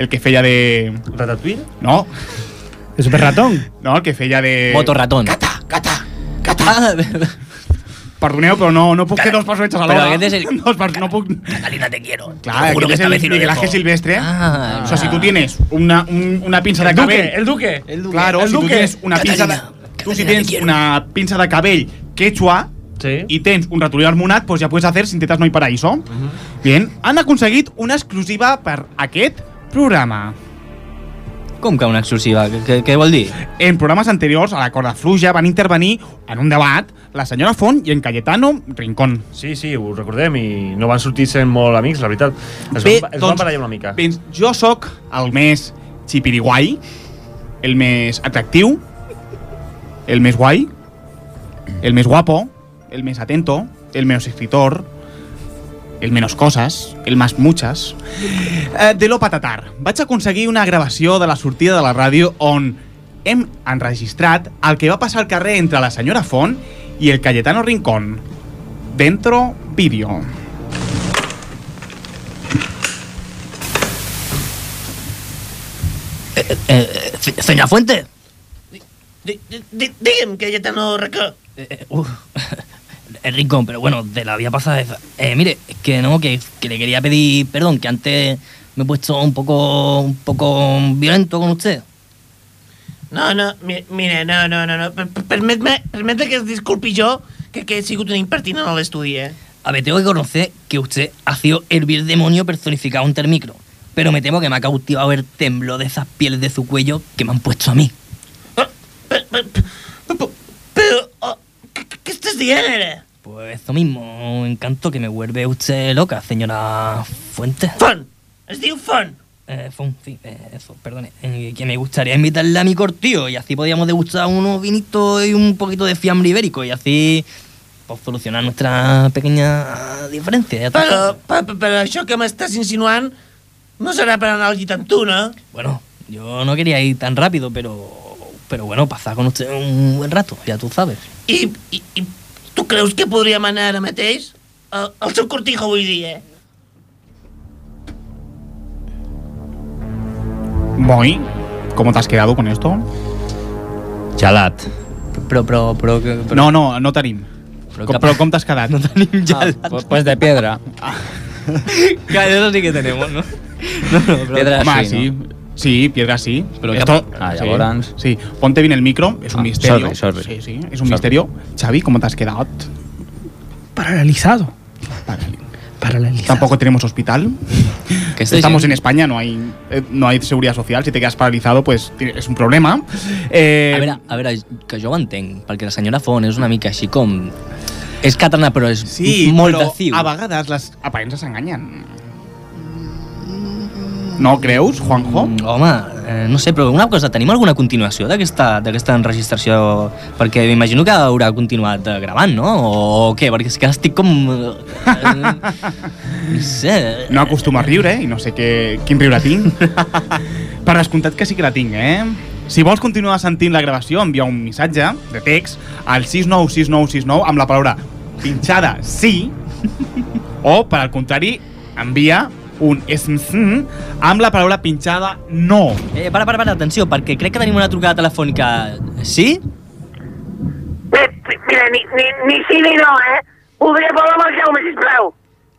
el que feia de... Ratatouille? No.
És un ratón.
No, el que feia de...
Motorratón.
Perdoneu, però no, no puc fer dos personatges
Però
alhora.
aquest és el-
Dos per- no puc...
Catalina, te quiero.
Clar, aquest
Juro que
és
esta
el
vez sí lo
Miguel Ángel
dejo.
Silvestre. o sea, si tú tienes una, un- una pinza de
Ah. El duque,
cabello...
el
duque, el duque. Claro,
el
si
duque.
tú tienes una pinza de... Tú si tienes una pinza de cabello quechua y tens un ratolí hormonat, pues ya puedes hacer Sintetas no hay paraíso. Bien, han aconseguit una exclusiva per aquest programa.
Com que una exclusiva? Què, què vol dir?
En programes anteriors a la corda fluja van intervenir en un debat la senyora Font i en Cayetano Rincón.
Sí, sí, ho recordem i no van sortir sent molt amics, la veritat. Es
Bé,
van, es
doncs,
van barallar una mica.
Fins jo sóc el més xipiriguai, el més atractiu, el més guai, el més guapo, el més atento, el menos escritor, el menos cosas, el más muchas. Eh, de lo patatar. Vaig aconseguir una gravació de la sortida de la ràdio on hem enregistrat el que va passar al carrer entre la senyora Font i el Cayetano Rincón. Dentro vídeo.
Eh, eh, se- señora Fuente.
Di- di- di- Digue'm que ja te no recó.
Eh, El rincón, pero bueno, de la vía pasada. esa. Eh, mire, es que no, que, que le quería pedir perdón, que antes me he puesto un poco, un poco violento con usted.
No, no, mi, mira, no, no, no, no. Per- per- Permet-me permet que es disculpi jo que, que he sigut un impertinent a l'estudi, eh?
A ver, tengo que reconocer que usted ha sido el vil demonio personificado ante el micro. Pero me temo que me ha cautivado el temblor de esas pieles de su cuello que me han puesto a mí.
Però, oh, què, què estàs dient, ara?
Pues eso mismo, un encanto que me vuelve usted loca, señora Fuente.
¡Fon! Es diu Fon.
Eh, Fon, sí, eh, eso, perdone. Eh, que me gustaría invitarla a mi cortío y así podíamos degustar unos vinitos y un poquito de fiambre ibérico y así pues, solucionar nuestra pequeña diferencia. ya está.
Però, però, però això que m'estàs insinuant no serà per anar al llit amb tu, no?
Bueno, yo no quería ir tan rápido, pero, pero bueno, pasar con usted un buen rato, ya tú sabes.
I, i, i tu creus que podríem anar ara mateix? Al, al seu cortijo vull dir, eh?
Boy, ¿cómo te has quedado con esto?
Chalat. Pero, pero, pero, pero-
No, no, no tenim.
Però
Com,
cap-
però com t'has quedat? No
tenim gelat.
Ah, pues de piedra.
Claro, eso sí que tenemos, ¿no? No, no, pero-
Piedra Home, sí, sí, piedra sí.
Però
Esto-
cap- Ah, llavors.
Sí, sí. Ponte bien el micro, es un
Ah, sorry,
misterio.
sorry.
Sí, sí, es un
Sorry.
misterio. Xavi, ¿cómo te has quedado?
Paralizado. Paralizado.
Tampoco tenemos hospital. Estamos en España, no hay, eh, no hay seguridad social. Si te quedas paralizado, pues ti- es un problema. Eh,
A veure, a veure, que jo ho entenc, perquè la senyora Font és una mica així com... És catalana, però és
sí,
molt
però
daciu.
a vegades les aparences enganyen. No creus, Juanjo?
Home, eh, no sé, però una cosa, tenim alguna continuació d'aquesta d'aquesta enregistració? Perquè m'imagino que haurà continuat eh, gravant, no? O, o què? Perquè és que estic com... eh, no sé...
No acostumo a riure i no sé què, quin riure tinc. per descomptat que sí que la tinc, eh? Si vols continuar sentint la gravació, envia un missatge de text al 696969 amb la paraula pinxada sí o, per al contrari, envia un SMS amb la paraula pinxada no.
Eh, para, para, para, atenció, perquè crec que tenim una trucada telefònica... Sí?
Mira, ni, ni, ni sí ni no, eh? Podria parlar amb el Jaume, sisplau.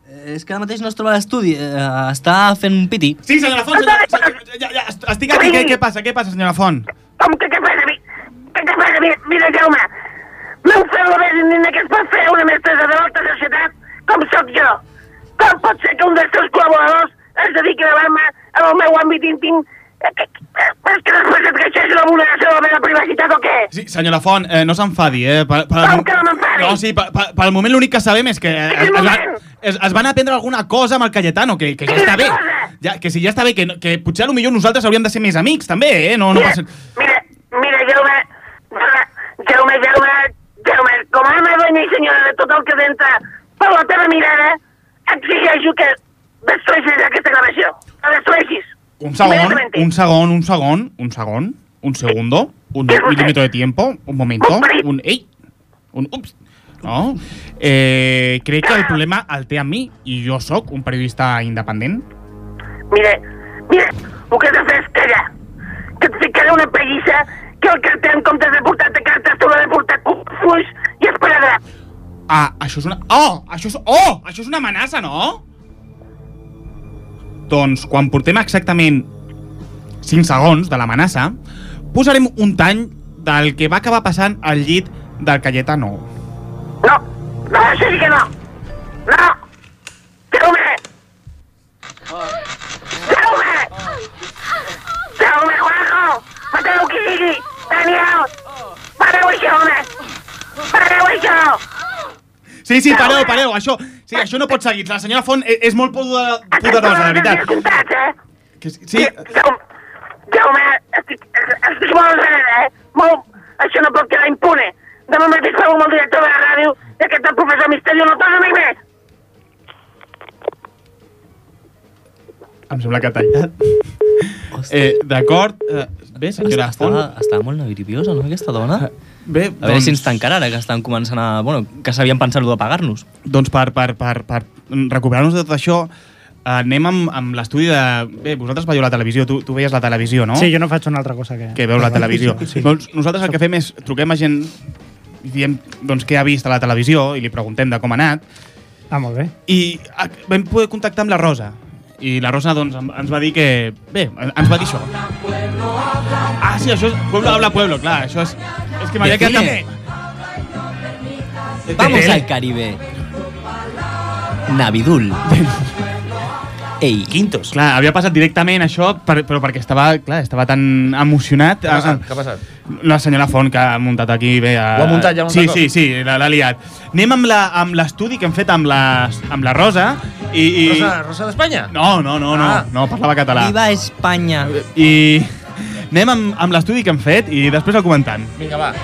Eh, és que ara mateix no es troba a l'estudi, eh, està fent un piti.
Sí, senyora Font, senyora, senyora, ja, ja, estic aquí. Què, què passa, què passa, senyora Font?
Com que què passa? Mi- Què, què passa? Mira, mira Jaume, m'heu fet la verina que es pot fer una mestressa de l'alta societat com sóc jo. Com pot ser que un dels teus col·laboradors es dediqui a gravar-me en el meu àmbit íntim? Eh, que- que- És que després et queixes de la vulneració de la meva privacitat o què?
Sí, senyora Font, eh, no s'enfadi, eh? Per, per,
Com que no m'enfadi?
No, sí, per, per, per el moment l'únic que sabem és que... Eh, es, va, es, es van aprendre alguna cosa amb el Cayetano, que, que ja està bé. Ja, que si ja està bé, que, no- que potser a lo millor nosaltres hauríem de ser més amics, també, eh? No, no passa...
Mira, Jaume, Jaume, Jaume, Jaume, com a home dona i senyora de tot el que entra per la teva mirada, exigeixo que destrueixis aquesta gravació. La destrueixis.
Un segon, un segon, un segon, un segon, un segundo, un milímetro de tiempo, un momento, un... Ei, un... Ups, no. Eh, crec que el
Ah.
problema el té a mi i jo sóc un periodista independent.
Mira, mira, el que has de fer és callar. Que et ficaré una pallissa que el carter, en comptes de portar-te cartes, t'haurà de portar confús i esparadrap.
Ah, això és una... Oh, això és... Oh, això és una amenaça, no? Doncs quan portem exactament 5 segons de l'amenaça, posarem un tall del que va acabar passant al llit del Cayetano.
No, això sí que no. No. Jaume. Jaume. Jaume, Juanjo. Mateu qui sigui. Daniel. Pareu això, home. Pareu això.
Sí, sí, pareu, pareu, això... Sí, això no pot seguir. La senyora Font e-, és, és molt poder- poderosa, la veritat. Que, sí, sí,
Jaume, estic, estic molt enrere, eh? Molt. Això no pot quedar impune. Demà mateix parlo amb el director de la ràdio i aquest el professor Misterio no torna mai més.
em sembla que ha tallat. Eh, D'acord. Eh, bé, senyora
Estava, Eh, doncs-
Font.
estava molt nerviosa, no, aquesta dona?
Bé,
a veure si ens tancarà ara, que estan començant a... Bueno, que s'havien pensat lo d'apagar-nos.
Doncs per, per, per, per recuperar-nos de tot això, eh, anem amb, amb l'estudi de... Bé, vosaltres veieu la televisió, tu, tu veies la televisió, no?
Sí, jo no faig una altra cosa que...
Que veu la televisió.
Sí.
Doncs nosaltres el que fem és truquem a gent i diem doncs, què ha vist a la televisió i li preguntem de com ha anat.
Ah, molt bé.
I ah, vam poder contactar amb la Rosa. I la Rosa doncs, em- ens va dir que... Bé, ens va dir això. Ah, sí, això és Pueblo Habla Pueblo, clar, això és... És que m'havia
De
quedat...
cine.
amb- De
Vamos
tele.
al Caribe. Navidul. Ei.
Quintos. Clar, havia passat directament això, per, però perquè estava, clar, estava tan emocionat. ah,
Què ha passat? Què ha passat?
La senyora Font que ha muntat aquí bé. A...
Ho ha muntat, ja ho ha
Sí,
muntat
sí,
tot.
sí, la- l'ha liat. Anem amb la- amb l'estudi que hem fet amb la, amb la Rosa i... i...
Rosa, Rosa d'Espanya?
No, no, no, no,
Ah.
no, parlava català.
Viva Espanya.
I anem amb, amb l'estudi que hem fet i després el comentant.
Vinga, va.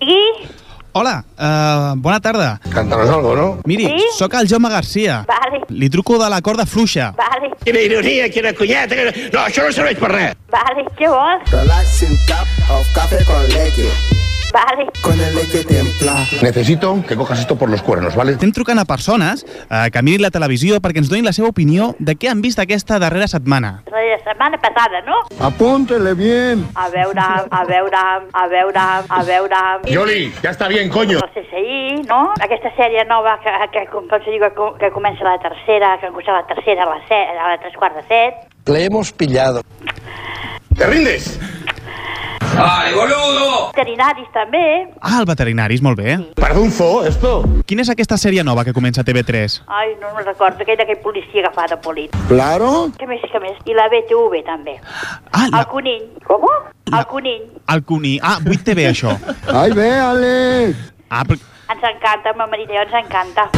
Sí?
Hola, uh, bona tarda. Cantaràs algo, no? Miri,
Sí?
sóc el Jaume Garcia.
Vale,
Li truco de la corda fluixa.
vale.
Quina ironia, quina cunyeta, quina... No, això no serveix per res.
Vale, què vols?
Relax un cup of café con leche.
Vale.
Con el leche templada.
Necessito que cojas esto por los cuernos, ¿vale? Estem trucant a persones eh, que mirin la televisió perquè ens donin la seva opinió de què han vist aquesta darrera setmana.
La setmana passada, no?
Apúntele bien.
A veure, a veure, a veure, a veure...
Yoli, ya está bien, coño.
El CSI, no? Aquesta sèrie nova que, que, com que, diu, que, que comença a la tercera, que comença a la tercera a les set, a les tres quarts de set.
Le hemos pillado. ¿Te rindes?
Vale, boludo! Veterinaris també.
Ah, el veterinari, és molt bé. Perdunzo, esto. Quina és aquesta sèrie nova que comença a TV3?
Ai, no me'n recordo, aquell d'aquell policia agafat a polit.
Claro.
Que més, que més. I la BTV també.
Ah,
la... El conill. Com? El conill.
El Cuní. Ah, 8TV, això. Ai, bé, Àlex. Ah, però...
Ens encanta, ma marit i jo ens encanta.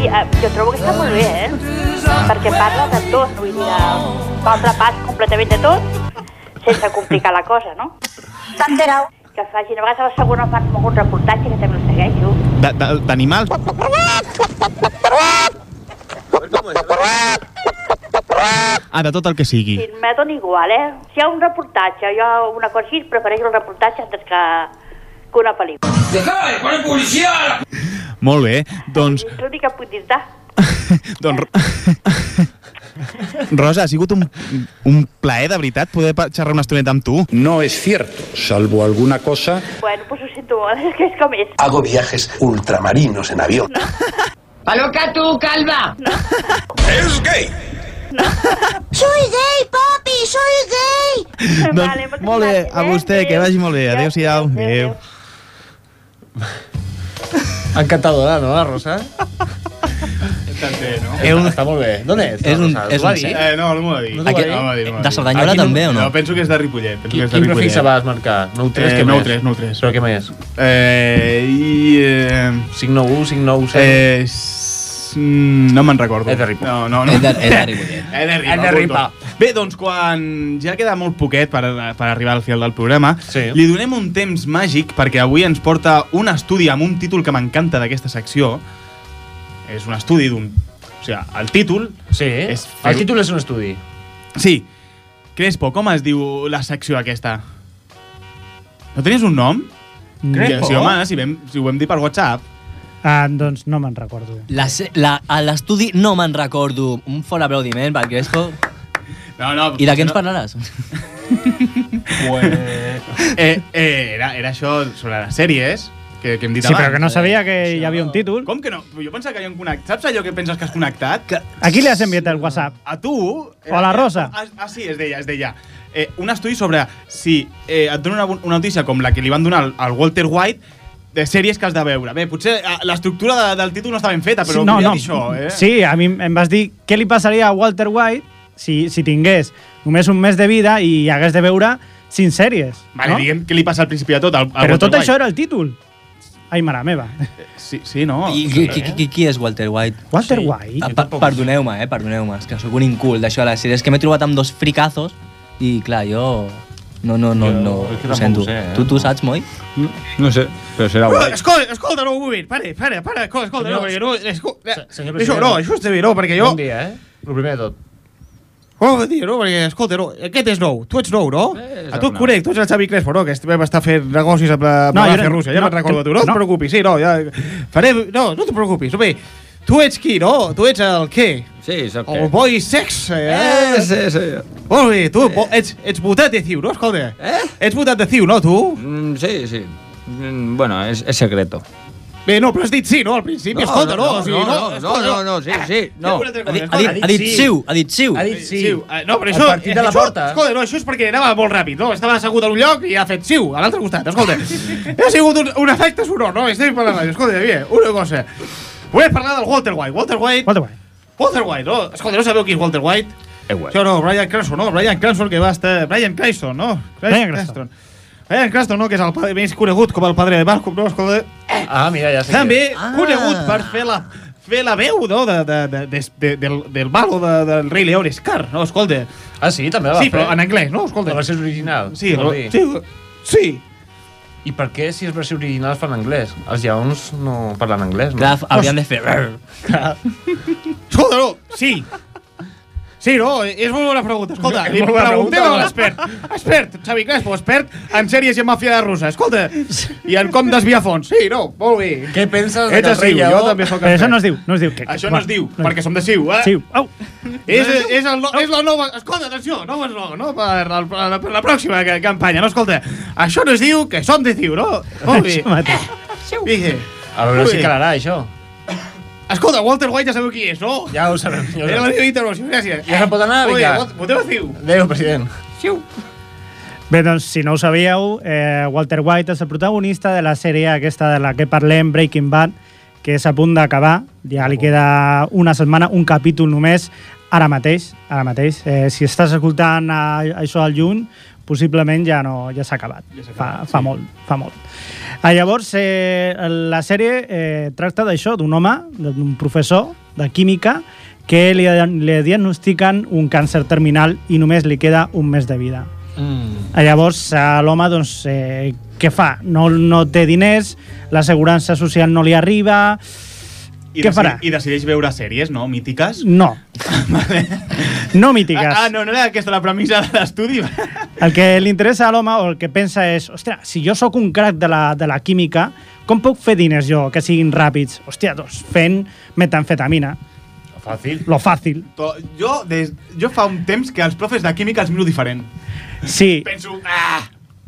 I eh, jo trobo que està molt bé, eh? Perquè parla de tot, vull dir, eh, fa un repàs completament de tot, sense complicar la cosa, no? Tanderau. Que facin, a vegades a la segona fan algun reportatge que també el segueixo.
De- de- D'animals? Ah, de tot el que sigui.
Sí, me dona igual, eh? Si hi ha un reportatge, jo una cosa així, prefereixo el reportatge antes que, que una pel·lícula. Dejá de poner publicidad!
Molt bé, doncs,
És l'únic que puc dir-te.
doncs... Rosa, ha sigut un, un plaer, de veritat, poder pa- xerrar una estoneta amb tu. No és cierto, salvo alguna cosa...
Bueno, pues ho sento molt, és que és com és.
Hago viajes ultramarinos en avión.
Paloca tu, calva! No.
¡Es gay!
Soy gay, papi, soy gay!
doncs, molt bé, a vostè, que vagi molt bé. Adéu-siau. Adéu.
Encantadora, no, la Rosa?
També, no?
Heu- Està
molt bé.
D'on és? És un- és un set.
Eh, no, no m'ho va dir.
No t'ho va Aquest- dir?
Eh,
de Cerdanyola també, o no?
No, penso que és de Ripollet. Penso
Quin,
que és de
quin
Ripollet.
prefix vas marcar? 9-3,
Eh,
què
9-3,
9-3. Però què més?
Eh, i... Eh, 591, 597... Eh, s- mm, no me'n recordo. És de Ripa. No, no, no.
És de- és de eh. Ripollet.
És de Ripa.
És de Ripa.
punto. Bé, doncs quan ja queda molt poquet per, per arribar al final del programa, sí. li donem un temps màgic perquè avui ens porta un estudi amb un títol que m'encanta d'aquesta secció. És un estudi d'un... O sigui, el títol... Sí, és
El títol és un estudi.
Sí. Crespo, com es diu la secció aquesta? No tenies un nom?
Crespo?
Sí, home, si, vam, si ho vam dir per WhatsApp.
Ah, doncs no me'n recordo.
La se- la- a L'estudi no me'n recordo. Un fort aplaudiment pel Crespo.
No, no,
I de què ens
no.
parlaràs?
Eh, eh, era, era això sobre les sèries que, que hem dit
Sí,
abans.
però que no sabia que hi havia un títol.
Com que no? Jo pensava que hi havia un connectat. Saps allò que penses que has connectat? Que...
Aquí li has enviat el WhatsApp.
A tu...
O a la Rosa.
Ah, ah, sí, es deia, es deia. Eh, un estudi sobre si eh, et donen una, bon- una notícia com la que li van donar al, al Walter White de sèries que has de veure. Bé, potser eh, l'estructura de, del títol no està ben feta, Ah, però
Sí, no,
volia
no.
dir això, eh?
Sí, a mi em vas dir què li passaria a Walter White si, si tingués només un mes de vida i hagués de veure cinc sèries.
Vale,
no?
diguem què li passa al principi de tot, al, al
Però
Walter
tot
White. Eh,
això era el títol. Ai, mare meva.
Sí, sí no?
I qui, qui, qui, qui és Walter White?
Walter White?
Ah, pa- Perdoneu-me, eh? Perdoneu-me. És que sóc un incul d'això de les sèries. Que m'he trobat amb dos fricazos i, clar, jo... No, no, no, no,
que
ho
tampoc
sento.
ho sé, eh?
Tu, tu saps, Moi?
No sé, però serà guai.
Escolta, escolta, no ho vull dir. Pare, pare, pare, escolta, escolta, no, perquè no... Escolta,
Senyor
això
president,
no, això és de bé, no, perquè jo...
Bon dia, eh? El primer de tot.
Oh, bon dia, no, perquè, escolta, no, aquest és nou, tu ets nou, no? Eh, a tu et
nou.
conec, tu ets el Xavi Crespo, no? Que est- vam estar fent negocis amb la, amb no,
No, jo
la
no-
Màfia Rússia, ja
no,
me'n recordo de tu,
no.
no, et preocupis, sí, no, ja... Farem... No, no t'ho preocupis, home, tu ets qui, no? Tu ets el què?
Sí, sap
Oh,
El
què.
boy sex, eh?
Eh, sí, sí.
Molt bé, tu bo- ets, ets votat de CiU, no? Escolta, eh? ets votat de CiU, no, tu?
Mm, sí, sí. Mm, bueno, és, és secreto.
Bé, no, però has dit sí, no, al principi?
No,
escolta, no,
no,
o sigui,
no,
no,
no,
escolta,
no, no, sí, sí, no.
Fem una altra
Ha dit- ha
cosa,
dit-
escolta.
ha dit siu, ha dit siu.
Ha dit siu. Eh, No, però
El
això...
partit de la
això-
porta.
Escolta, no, això és perquè anava molt ràpid, no? Estava assegut en un lloc i ha fet siu, a l'altre costat, escolta. ha sigut un, un efecte sonor, no? Estem per la ràdio, escolta, Javier, una cosa. Volem parlar del Walter White. Walter White... Walter
White.
Walter White, no? Escolta, no sabeu qui és Walter White?
Eh,
Sí o no, Brian Cranston, no? Brian Cranston que va estar... Brian Cranston, no?
Bryan
Cranston. Brian Cranston, no? Que és el padre més conegut com el padre de Malcolm, no? Escolta,
Eh,
Ah, mira, ja sé.
també
qui és.
conegut per fer la, fer la veu no? de, de, de, de, de, del, del malo de, del rei León Scar, no? Escolta.
Ah, sí? També la va
sí, però
fer?
en anglès, no? Escolta.
La versió és original.
Sí,
vol
la-
dir.
sí, sí.
I per què, si és versió original, es fan en anglès? Els lleons no parlen anglès, no?
Clar, hauríem de fer...
Escolta, no, sí. Sí, no, és molt bona pregunta. Escolta,
És
li
molt bona
preguntem
pregunta,
a l'expert. Expert, Xavi Crespo, expert en sèries i en màfia de russa. Escolta, i en com desviar fons. Sí, no, molt bé.
Què penses
Ets a Siu, jo també sóc
Però això
expert.
no es diu, no es diu. Que,
Això no es diu, perquè som de Siu, eh?
Siu. Au.
És, és, el, no- és la nova... Escolta, atenció, no és no, no? Per, el, per, la, per la pròxima ca- campanya, no? Escolta, això no es diu que som de Ciu, no? Molt bé.
Això mateix.
Dije,
A veure
Molt
si
bé.
calarà, això.
escolta, Walter White ja sabeu qui és, no?
Ja ho sabem. Ja ho
Era la meva
sabem.
intervenció, gràcies.
Ja se'n pot anar,
Molt bé,
vinga.
vot- Voteu a Ciu.
Adéu, president.
Bé, doncs, si no ho sabíeu, eh, Walter White és el protagonista de la sèrie aquesta de la que parlem, Breaking Bad, que és a punt d'acabar. Ja li queda una setmana, un capítol només, ara mateix. Ara mateix. Eh, si estàs escoltant a, això al juny, possiblement ja no ja s'ha acabat. Ja fa, fa molt, fa molt. Ah, llavors, eh, la sèrie eh, tracta d'això, d'un home, d'un professor de química, que li, li diagnostiquen un càncer terminal i només li queda un mes de vida.
Mm.
Ah, Llavors, eh, l'home, doncs, eh, què fa? No, no té diners, l'assegurança social no li arriba...
I
què farà?
I decideix veure sèries, no? Mítiques.
No. No mítiques.
Ah, ah, no, no era aquesta la premissa de l'estudi.
El que li interessa a l'home o el que pensa és ostres, si jo sóc un crac de la, de la química, com puc fer diners jo que siguin ràpids? Hòstia, doncs fent metanfetamina.
Fàcil.
Lo fàcil.
To- Jo, des, jo fa un temps que els profes de química els miro diferent.
Sí.
Penso, ah,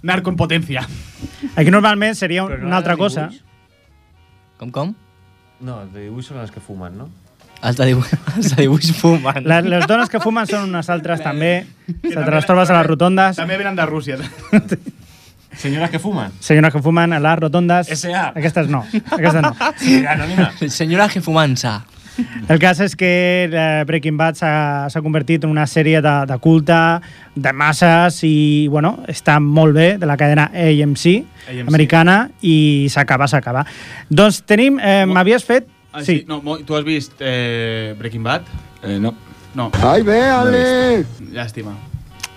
narco en potència.
Aquí normalment seria un- una altra cosa.
Com, com?
No, els de dibuix són els que fumen, no?
Els de dibuix, els de dibuix fumant.
Les, les dones que fumen són unes altres també. Se te les trobes a les rotondes.
També venen de Rússia.
Senyores que fumen.
Senyores que fumen a les rotondes.
S.A..
Aquestes no. Aquestes no.
Sí, anònima.
Senyora que fumança.
El cas és que eh, Breaking Bad s'ha s'ha convertit en una sèrie de, de culte, de masses i, bueno, està molt bé, de la cadena AMC,
AMC.
americana, i s'acaba, s'acaba. Doncs tenim... Eh, M'havies fet...
Ah,
Sí.
sí. No, mo- ¿Tú has visto eh, Breaking Bad?
Eh, no.
No.
Ai, bé,
No
ale!
he vist. Llàstima.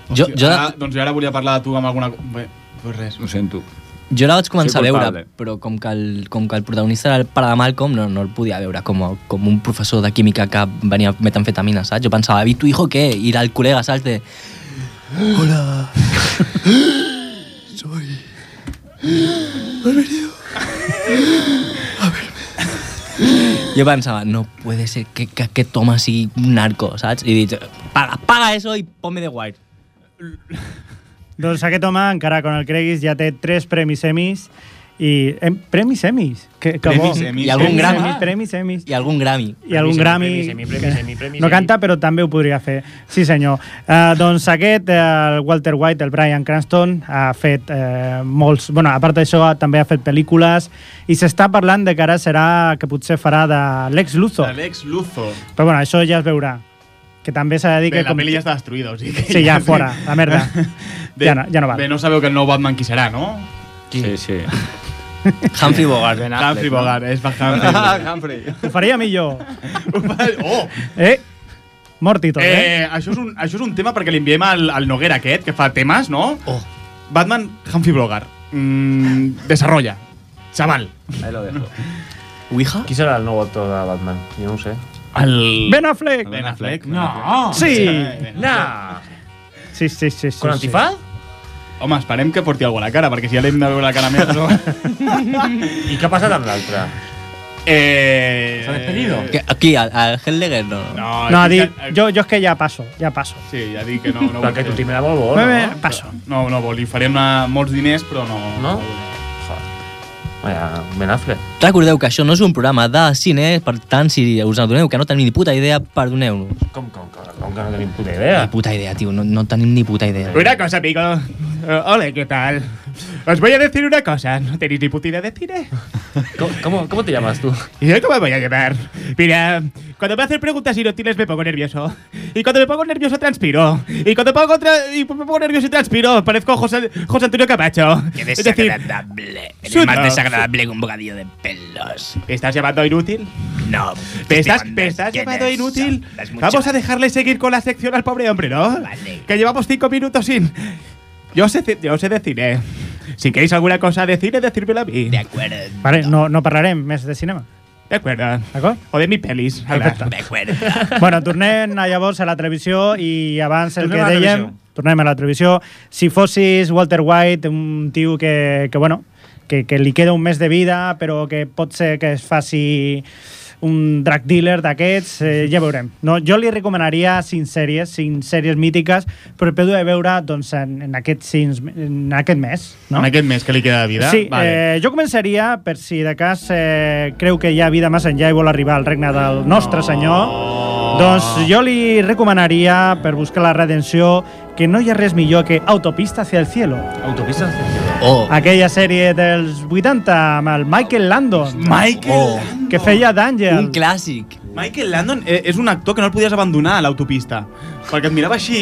Jo-
Hòstia,
jo-
Ara, doncs jo ara volia parlar de tu amb alguna... co- Bé, pues res.
Ho sento.
Jo la vaig
Soy
començar a veure,
culpable.
però com que el, com que el protagonista era el pare de Malcolm, no, no el podia veure com, a- com un professor de química que venia a metanfetamina, saps? Jo pensava, i tu hijo què? I era el col·lega, saps? De... Hola.
Soy. Has venido.
Jo pensava, no puede ser que, que aquest home sigui un narco, saps? I dic, paga, paga eso y ponme de guard.
Doncs aquest home, encara que no el creguis, ja té tres premis Emis i... Em, premis Emis? Que, que bo.
Premis Emmys. I algun Grammy.
Emmys, Premis Emis.
I algun Grammy.
i algun Grammy. que no canta, però també ho podria fer. Sí, senyor. Uh, doncs aquest, eh, el Walter White, el Brian Cranston, ha fet eh, molts... bueno, a part d'això, també ha fet pel·lícules i s'està parlant de que ara serà, que potser farà de Lex Luthor.
Alex Luzo.
Però bueno, això ja es veurà. Que també s'ha de dir
Bé,
que...
la peli ja està destruïda, o sigui que...
Sí, ja fora, la merda. Ja no- ja no val.
Bé, no sabeu que el nou Batman qui serà, no? Qui? Sí,
sí.
Humphrey Bogart.
Ben Affleck,
Humphrey
no?
Bogart, és per Humphrey
Ah,
Bogart.
Humphrey.
Ho faria millor.
oh!
Eh? Mort i tot, eh?
Eh, això, és un, això és un tema perquè li enviem al, al Noguera aquest, que fa temes, no? Oh. Batman, Humphrey Bogart. Mm, desarrolla. Chaval.
Ahí lo dejo.
¿Ouija?
¿Quién será el nuevo actor de Batman? Yo no sé.
El...
Ben Affleck.
Ben Affleck.
No.
Sí.
No.
Sí, sí, sí. sí
Con
sí.
antifaz? Home, esperem que porti alguna a la cara, perquè si ja l'hem de veure la cara més... No?
I què ha passat amb l'altre?
Eh...
S'ha despedido? Que, aquí, al, al Helldeger, no.
No,
No, di, jo, jo és que ja passo, ja passo.
Sí, ja dic que no... no
Perquè
tu
t'hi me molt
Bé,
Eh,
bé, passo.
No, no vol. Li farem eh, molts diners, però no... No?
Vaja, Ben Affleck.
Recordeu que això no és un programa de cine, per tant, si us adoneu que no tenim ni puta idea, perdoneu-nos.
Com, com, com, com que no tenim puta idea?
Ni puta idea, tio, no, no tenim ni puta idea.
Una cosa, amigo. Eh, hola, ¿qué tal? Os voy a decir una cosa. No tenéis ni puta idea de cine.
¿Cómo, cómo, te llamas tú?
¿Y yo cómo me voy a llamar? Mira, cuando me hacen preguntas inútiles me pongo nervioso. Y cuando me pongo nervioso transpiro. Y cuando pongo tra- y me pongo nervioso y transpiro, parezco José, José Antonio Camacho.
Qué
Es decir,
desagradable. Eres
suda.
más desagradable que un bocadillo de pelos.
¿Me estás llamando inútil?
No.
¿Me estás,
Estoy
me estás
quién
llamando
es.
inútil?
Hablas mucho.
Vamos a dejarle seguir con la sección al pobre hombre, ¿no?
Vale.
Que llevamos cinco minutos sin... Yo sé, ci- yo sé de cine. Si queréis alguna cosa de cine, decírmelo a mí. De
acuerdo.
Vale, no, no parlarem més de cinema.
De acuerdo.
D'acord?
O de mis pelis.
Perfecte.
De acuerdo.
Bueno, tornem a, llavors a la televisió i abans el
Tornem a
que
la
dèiem...
televisió.
Tornem a la televisió. Si fossis Walter White, un tio que, que bueno, que, que li queda un mes de vida, però que pot ser que es faci un drug dealer d'aquests, eh, ja veurem. No, jo li recomanaria cinc sèries, cinc sèries mítiques, però el peu de veure doncs, en, en, aquest, en aquest mes. No?
En aquest mes que li queda de vida?
Sí,
vale.
eh, jo començaria per si de cas eh, creu que hi ha vida més enllà i vol arribar al regne del nostre senyor. Doncs jo li recomanaria, per buscar la redenció, que no hi ha res millor que Autopista hacia el cielo.
Autopista.
Oh.
Aquella sèrie dels 80 amb el Michael Landon.
Michael oh.
Que feia d'Àngel.
Un
clàssic.
Michael Landon eh, és un actor que no el podies abandonar a l'autopista, perquè et mirava així,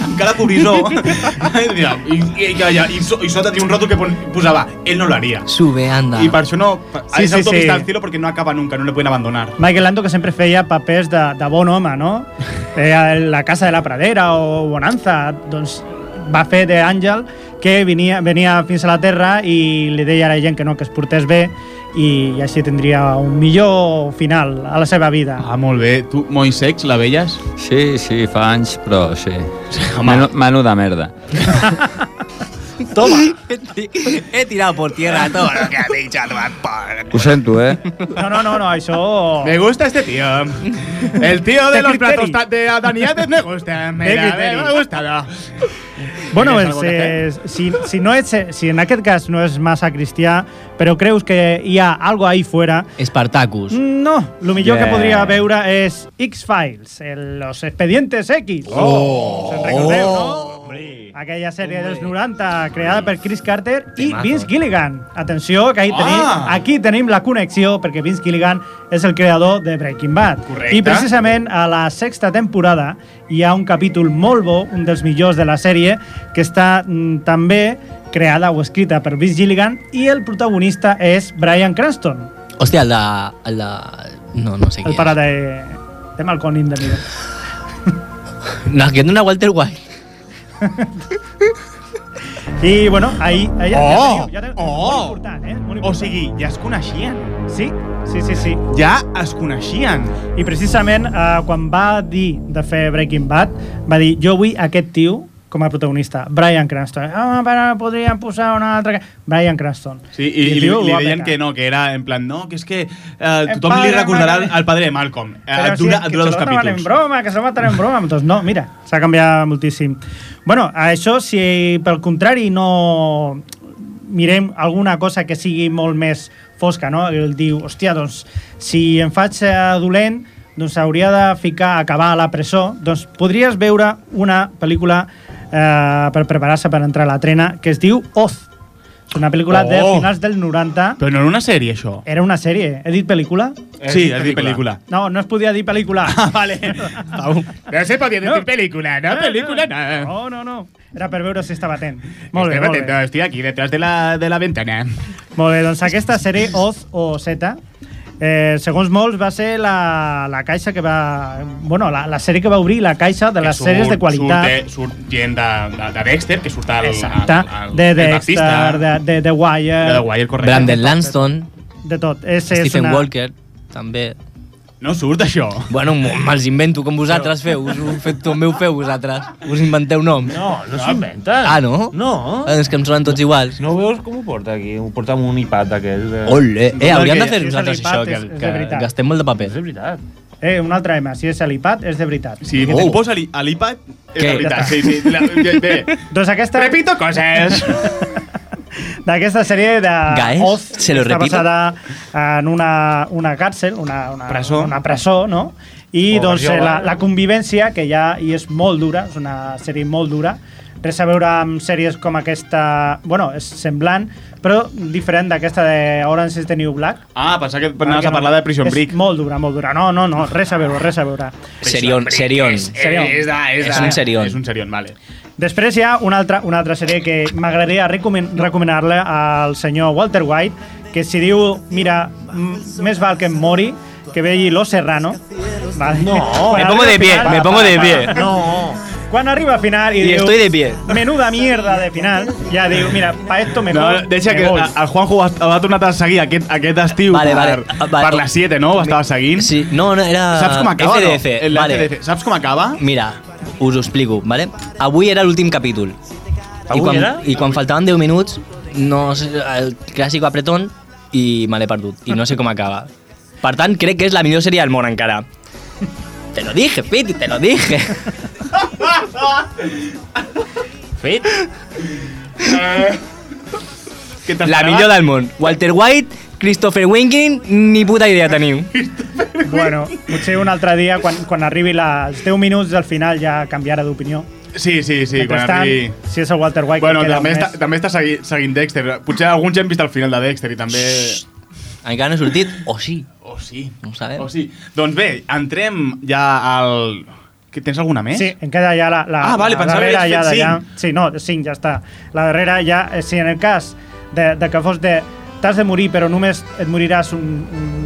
amb cara d'horizó, i, mira, i, i, i, i, i, so- i sota tenia un ròtol que pon- posava «Ell no lo haría».
Sube, anda.
I per això no...
Ah.
Sí,
Sí,
és
sí, sí.
autopista al cielo perquè no acaba nunca, no le pueden abandonar.
Michael Landon que sempre feia papers de, de bon home, no? Eh, la Casa de la Pradera o Bonanza, doncs va fer d'Àngel que venia, venia fins a la Terra i li deia a la gent que no, que es portés bé i, i així tindria un millor final a la seva vida.
Ah, molt bé. Tu, Moisex, la veies?
Sí, sí, fa anys, però sí. Manu, manu de merda.
Toma. He tirado por tierra todo lo que ha dicho a tomar por.
Ho sento, eh?
No, no, no, no, això...
Me gusta este tío. El tío de los platos ta- de Adaniades me gusta.
De
Mira, me
criteri.
ha gustado.
Bueno,
¿Tienes
doncs,
algo que
eh, si, si, no ets, si en aquest cas no és massa cristià, però creus que hi ha algo ahí fuera,
Espartacus.
No, lo millor
Yeah.
que podria veure és X-Files, el- los expedientes X.
Oh.
Se'n recordeu, no? aquella sèrie dels 90 creada per Chris Carter i Vince Gilligan. Atenció, que ahí
Ah!
tenim, aquí tenim la connexió, perquè Vince Gilligan és el creador de Breaking Bad.
Correcte.
I precisament a la sexta temporada hi ha un capítol molt bo, un dels millors de la sèrie, que està mm, també creada o escrita per Vince Gilligan i el protagonista és Bryan Cranston,
Hòstia, el de... El de... No, no sé
el
qui
pare de, de Malcolm in the Middle.
és. No, que no era Walter White.
I, bueno, ahí... ahí ja
Oh!
teniu, ja teniu,
Oh!
Molt important, eh? Molt
O sigui, ja es coneixien.
Sí, sí, sí, sí.
Ja es coneixien.
I precisament eh, quan va dir de fer Breaking Bad, va dir, jo vull aquest tio com a protagonista, Brian Cranston. Ah, però podríem posar una altra... que-" Brian Cranston.
Sí, i,
el
i li,
tio ho
li
va
deien
petar.
que no, que era en plan, no, que és que eh, tothom li
padre,
recordarà
madre.
el padre de Malcolm. Eh,
Però
dura,
si, que
dura
se
dos
lo toman en
capítols.
broma, que se lo matan en broma. Doncs no, mira, s'ha canviat moltíssim. Bueno, a això, si pel contrari no mirem alguna cosa que sigui molt més fosca, no? Ell diu, hòstia, doncs, si em faig eh, dolent, doncs hauria de ficar, acabar a la presó, doncs podries veure una pel·lícula eh, per preparar-se per entrar a la trena que es diu Oz. És una pel·lícula de
Oh.
finals del 90.
Però no era una sèrie, això.
Era una sèrie. He dit pel·lícula?
Sí, has dit pel·lícula.
No, no es podia dir pel·lícula. Ah, vale.
No se podia dir pel·lícula, no, pel·lícula, no.
Ah,
eh.
No, no, no. Era per veure si estava atent. Molt bé,
Estem
molt bé.
atentos, estic aquí, detrás de la, de la ventana.
Molt bé, doncs aquesta sèrie Oz o Z, eh, segons molts, va ser la, la caixa que va... Bueno, la, la sèrie que va obrir la caixa de
Que
les
surt-
sèries de qualitat.
Surt, de, surt gent de, de, de Dexter, que surt al...
Exacte.
al- al-
De
el
Dexter,
Baptista.
de, de The Wire...
De The Wire, correcte.
Brandon Lanston,
De tot. És, és
Stephen
una...
Walker, també.
No surt, això.
Bueno, m- me'ls invento com vosaltres feu. Us ho fet, també ho feu vosaltres. Us inventeu noms.
No, no s'inventen.
Ah, no?
No.
Ah, És que em sonen tots iguals.
No ho veus com ho porta aquí? Ho porta amb un iPad d'aquells. Eh?
Ole. Eh, hauríem de
que-
fer
si és
nosaltres
l'iPad,
això, que,
és- és de
que
veritat.
gastem molt de paper.
És veritat.
Eh, un altre M. Si és a l'iPad, és de veritat.
Si oh. posa a l'i- a l'iPad, és
Què?
la veritat. Sí, sí, la, bé.
Doncs aquesta...
Repito coses.
D'aquesta sèrie de
Guys,
Oz,
se lo
que està
repito.
basada en una, una càrcel, una, una
Presó.
Ah, Una presó no? I
O
doncs,
versió-
eh, la, la convivència, que ja hi és molt dura, és una sèrie molt dura, res a veure amb sèries com aquesta... Bueno, és semblant, però diferent d'aquesta de Orange is the New Black.
Ah, pensava que anaves
Perquè
a
no-
parlar de Prison
és
Break.
molt dura, molt dura. No, no, no, res a veure, res a veure.
Serion, serion.
Serión.
És, de, és, de,
És un serión.
És un serión, vale.
Després hi ha una altra, una altra sèrie que m'agradaria recomen recomanar-la al senyor Walter White, que si diu, mira, m- més val que em mori, que vegi Los Serrano. Vale.
No.
Quan
Me pongo
arriba
de
al
pie,
final-
me pongo de
Eh,
pie.
No.
Quan arriba al final i,
Y
diu...
estoy de pie.
Menuda mierda de final. Ja diu, mira, pa esto
No,
mejor
deixa
me
que
voy.
a- el Juanjo ha, ha tornat a seguir aquest, aquest estiu
Vale,
per,
vale. Ah, vale.
per les 7, no? Ho estava seguint.
Sí, ah, no, no, era...
Saps com acaba, no?
FDF,
El
vale.
FDF. Saps com acaba?
Mira, us ho explico, vale? Avui era l'últim capítol.
Avui
I quan,
era?
I quan faltaven 10 minuts, no sé, el clàssic apretón i me l'he perdut. I no sé com acaba. Per tant, crec que és la millor sèrie del món encara. Te lo dije, Piti, te lo dije.
Fet?
La millor del món. Walter White, Christopher Winking, ni puta idea teniu.
Bueno, potser un altre dia, quan, quan arribi la, els 10 minuts del final, ja canviarà d'opinió.
Sí, sí, sí, quan
Mentrestant,
arribi...
Si és el Walter White
Bueno,
que queda
també
un
està,
mes.
també està segui, seguint Dexter. Potser alguns ja hem vist el final de Dexter i també...
Encara no he sortit, o sí.
O sí.
No ho sabem.
O sí. Doncs bé, entrem ja al... Que tens alguna més?
Sí, en queda ja la, la,
Ah, vale,
la
pensava que
darrera
havies
ja
fet
d'allà. Sí, no, 5 ja està. La darrera ja, eh, si en el cas de, de que fos de t'has de morir però només et moriràs un,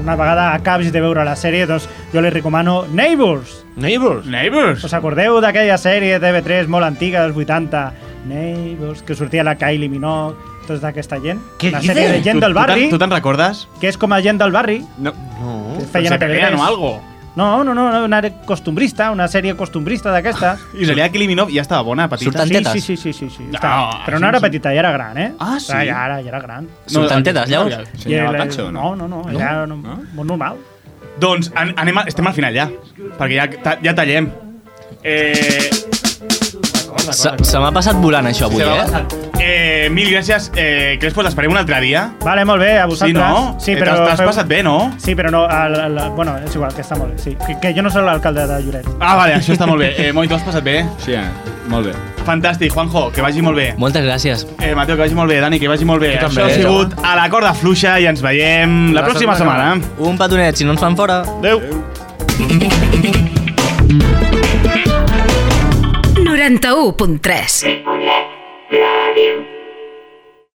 una vegada acabis de veure la sèrie, doncs jo li recomano Neighbors.
Neighbors?
Neighbors.
Us acordeu d'aquella sèrie de TV3 molt antiga dels 80? Neighbors, que sortia la Kylie Minogue, tota aquesta gent.
Què
la
dices?
sèrie de gent
Tu-
del
tu te'n-
barri,
Tu te'n recordes?
que és com a gent del barri.
No.
no.
Feien a
se peguen
TV3.
o algo.
No, no, no, una costumbrista, una sèrie costumbrista d'aquestes.
I en realitat Kiliminov ja estava bona, petita.
Surten Sí, tetes? sí, sí, sí, sí, sí. Està- però no era petita, ja era gran, eh?
Ah, sí?
Ara, ja, ara, ja era gran.
Surten tetes, llavors?
I
Senyora
era-
Pancho,
no?
no?
No, no,
No?
era no? molt normal.
Doncs an anem a, estem al final ja, perquè ja, ta ja tallem. Eh,
Se, se m'ha passat volant això avui,
se m'ha
eh?
passat. eh, mil gràcies. Eh, Crespo, t'esperem un altre dia.
Vale, molt bé, a
Sí,
vosaltres.
no?
Sí,
Eh,
però...
t'has- t'has
feu-
passat bé, no?
Sí, però no... El, el, bueno, és igual, que està molt bé, sí. Que, que jo no sóc l'alcalde de Lloret.
Ah, vale, això està molt bé. Eh, Moi, t'ho has passat bé? Sí, eh?
Molt bé.
Fantàstic, Juanjo, que vagi molt bé.
Moltes gràcies.
Eh, Mateu, que vagi molt bé. Dani, que vagi molt bé.
Tu també,
Això ha
eh,
sigut a la corda fluixa i ens veiem la, pròxima setmana.
Un petonet, si no ens fan fora.
Adéu.
91.3
Ràdio.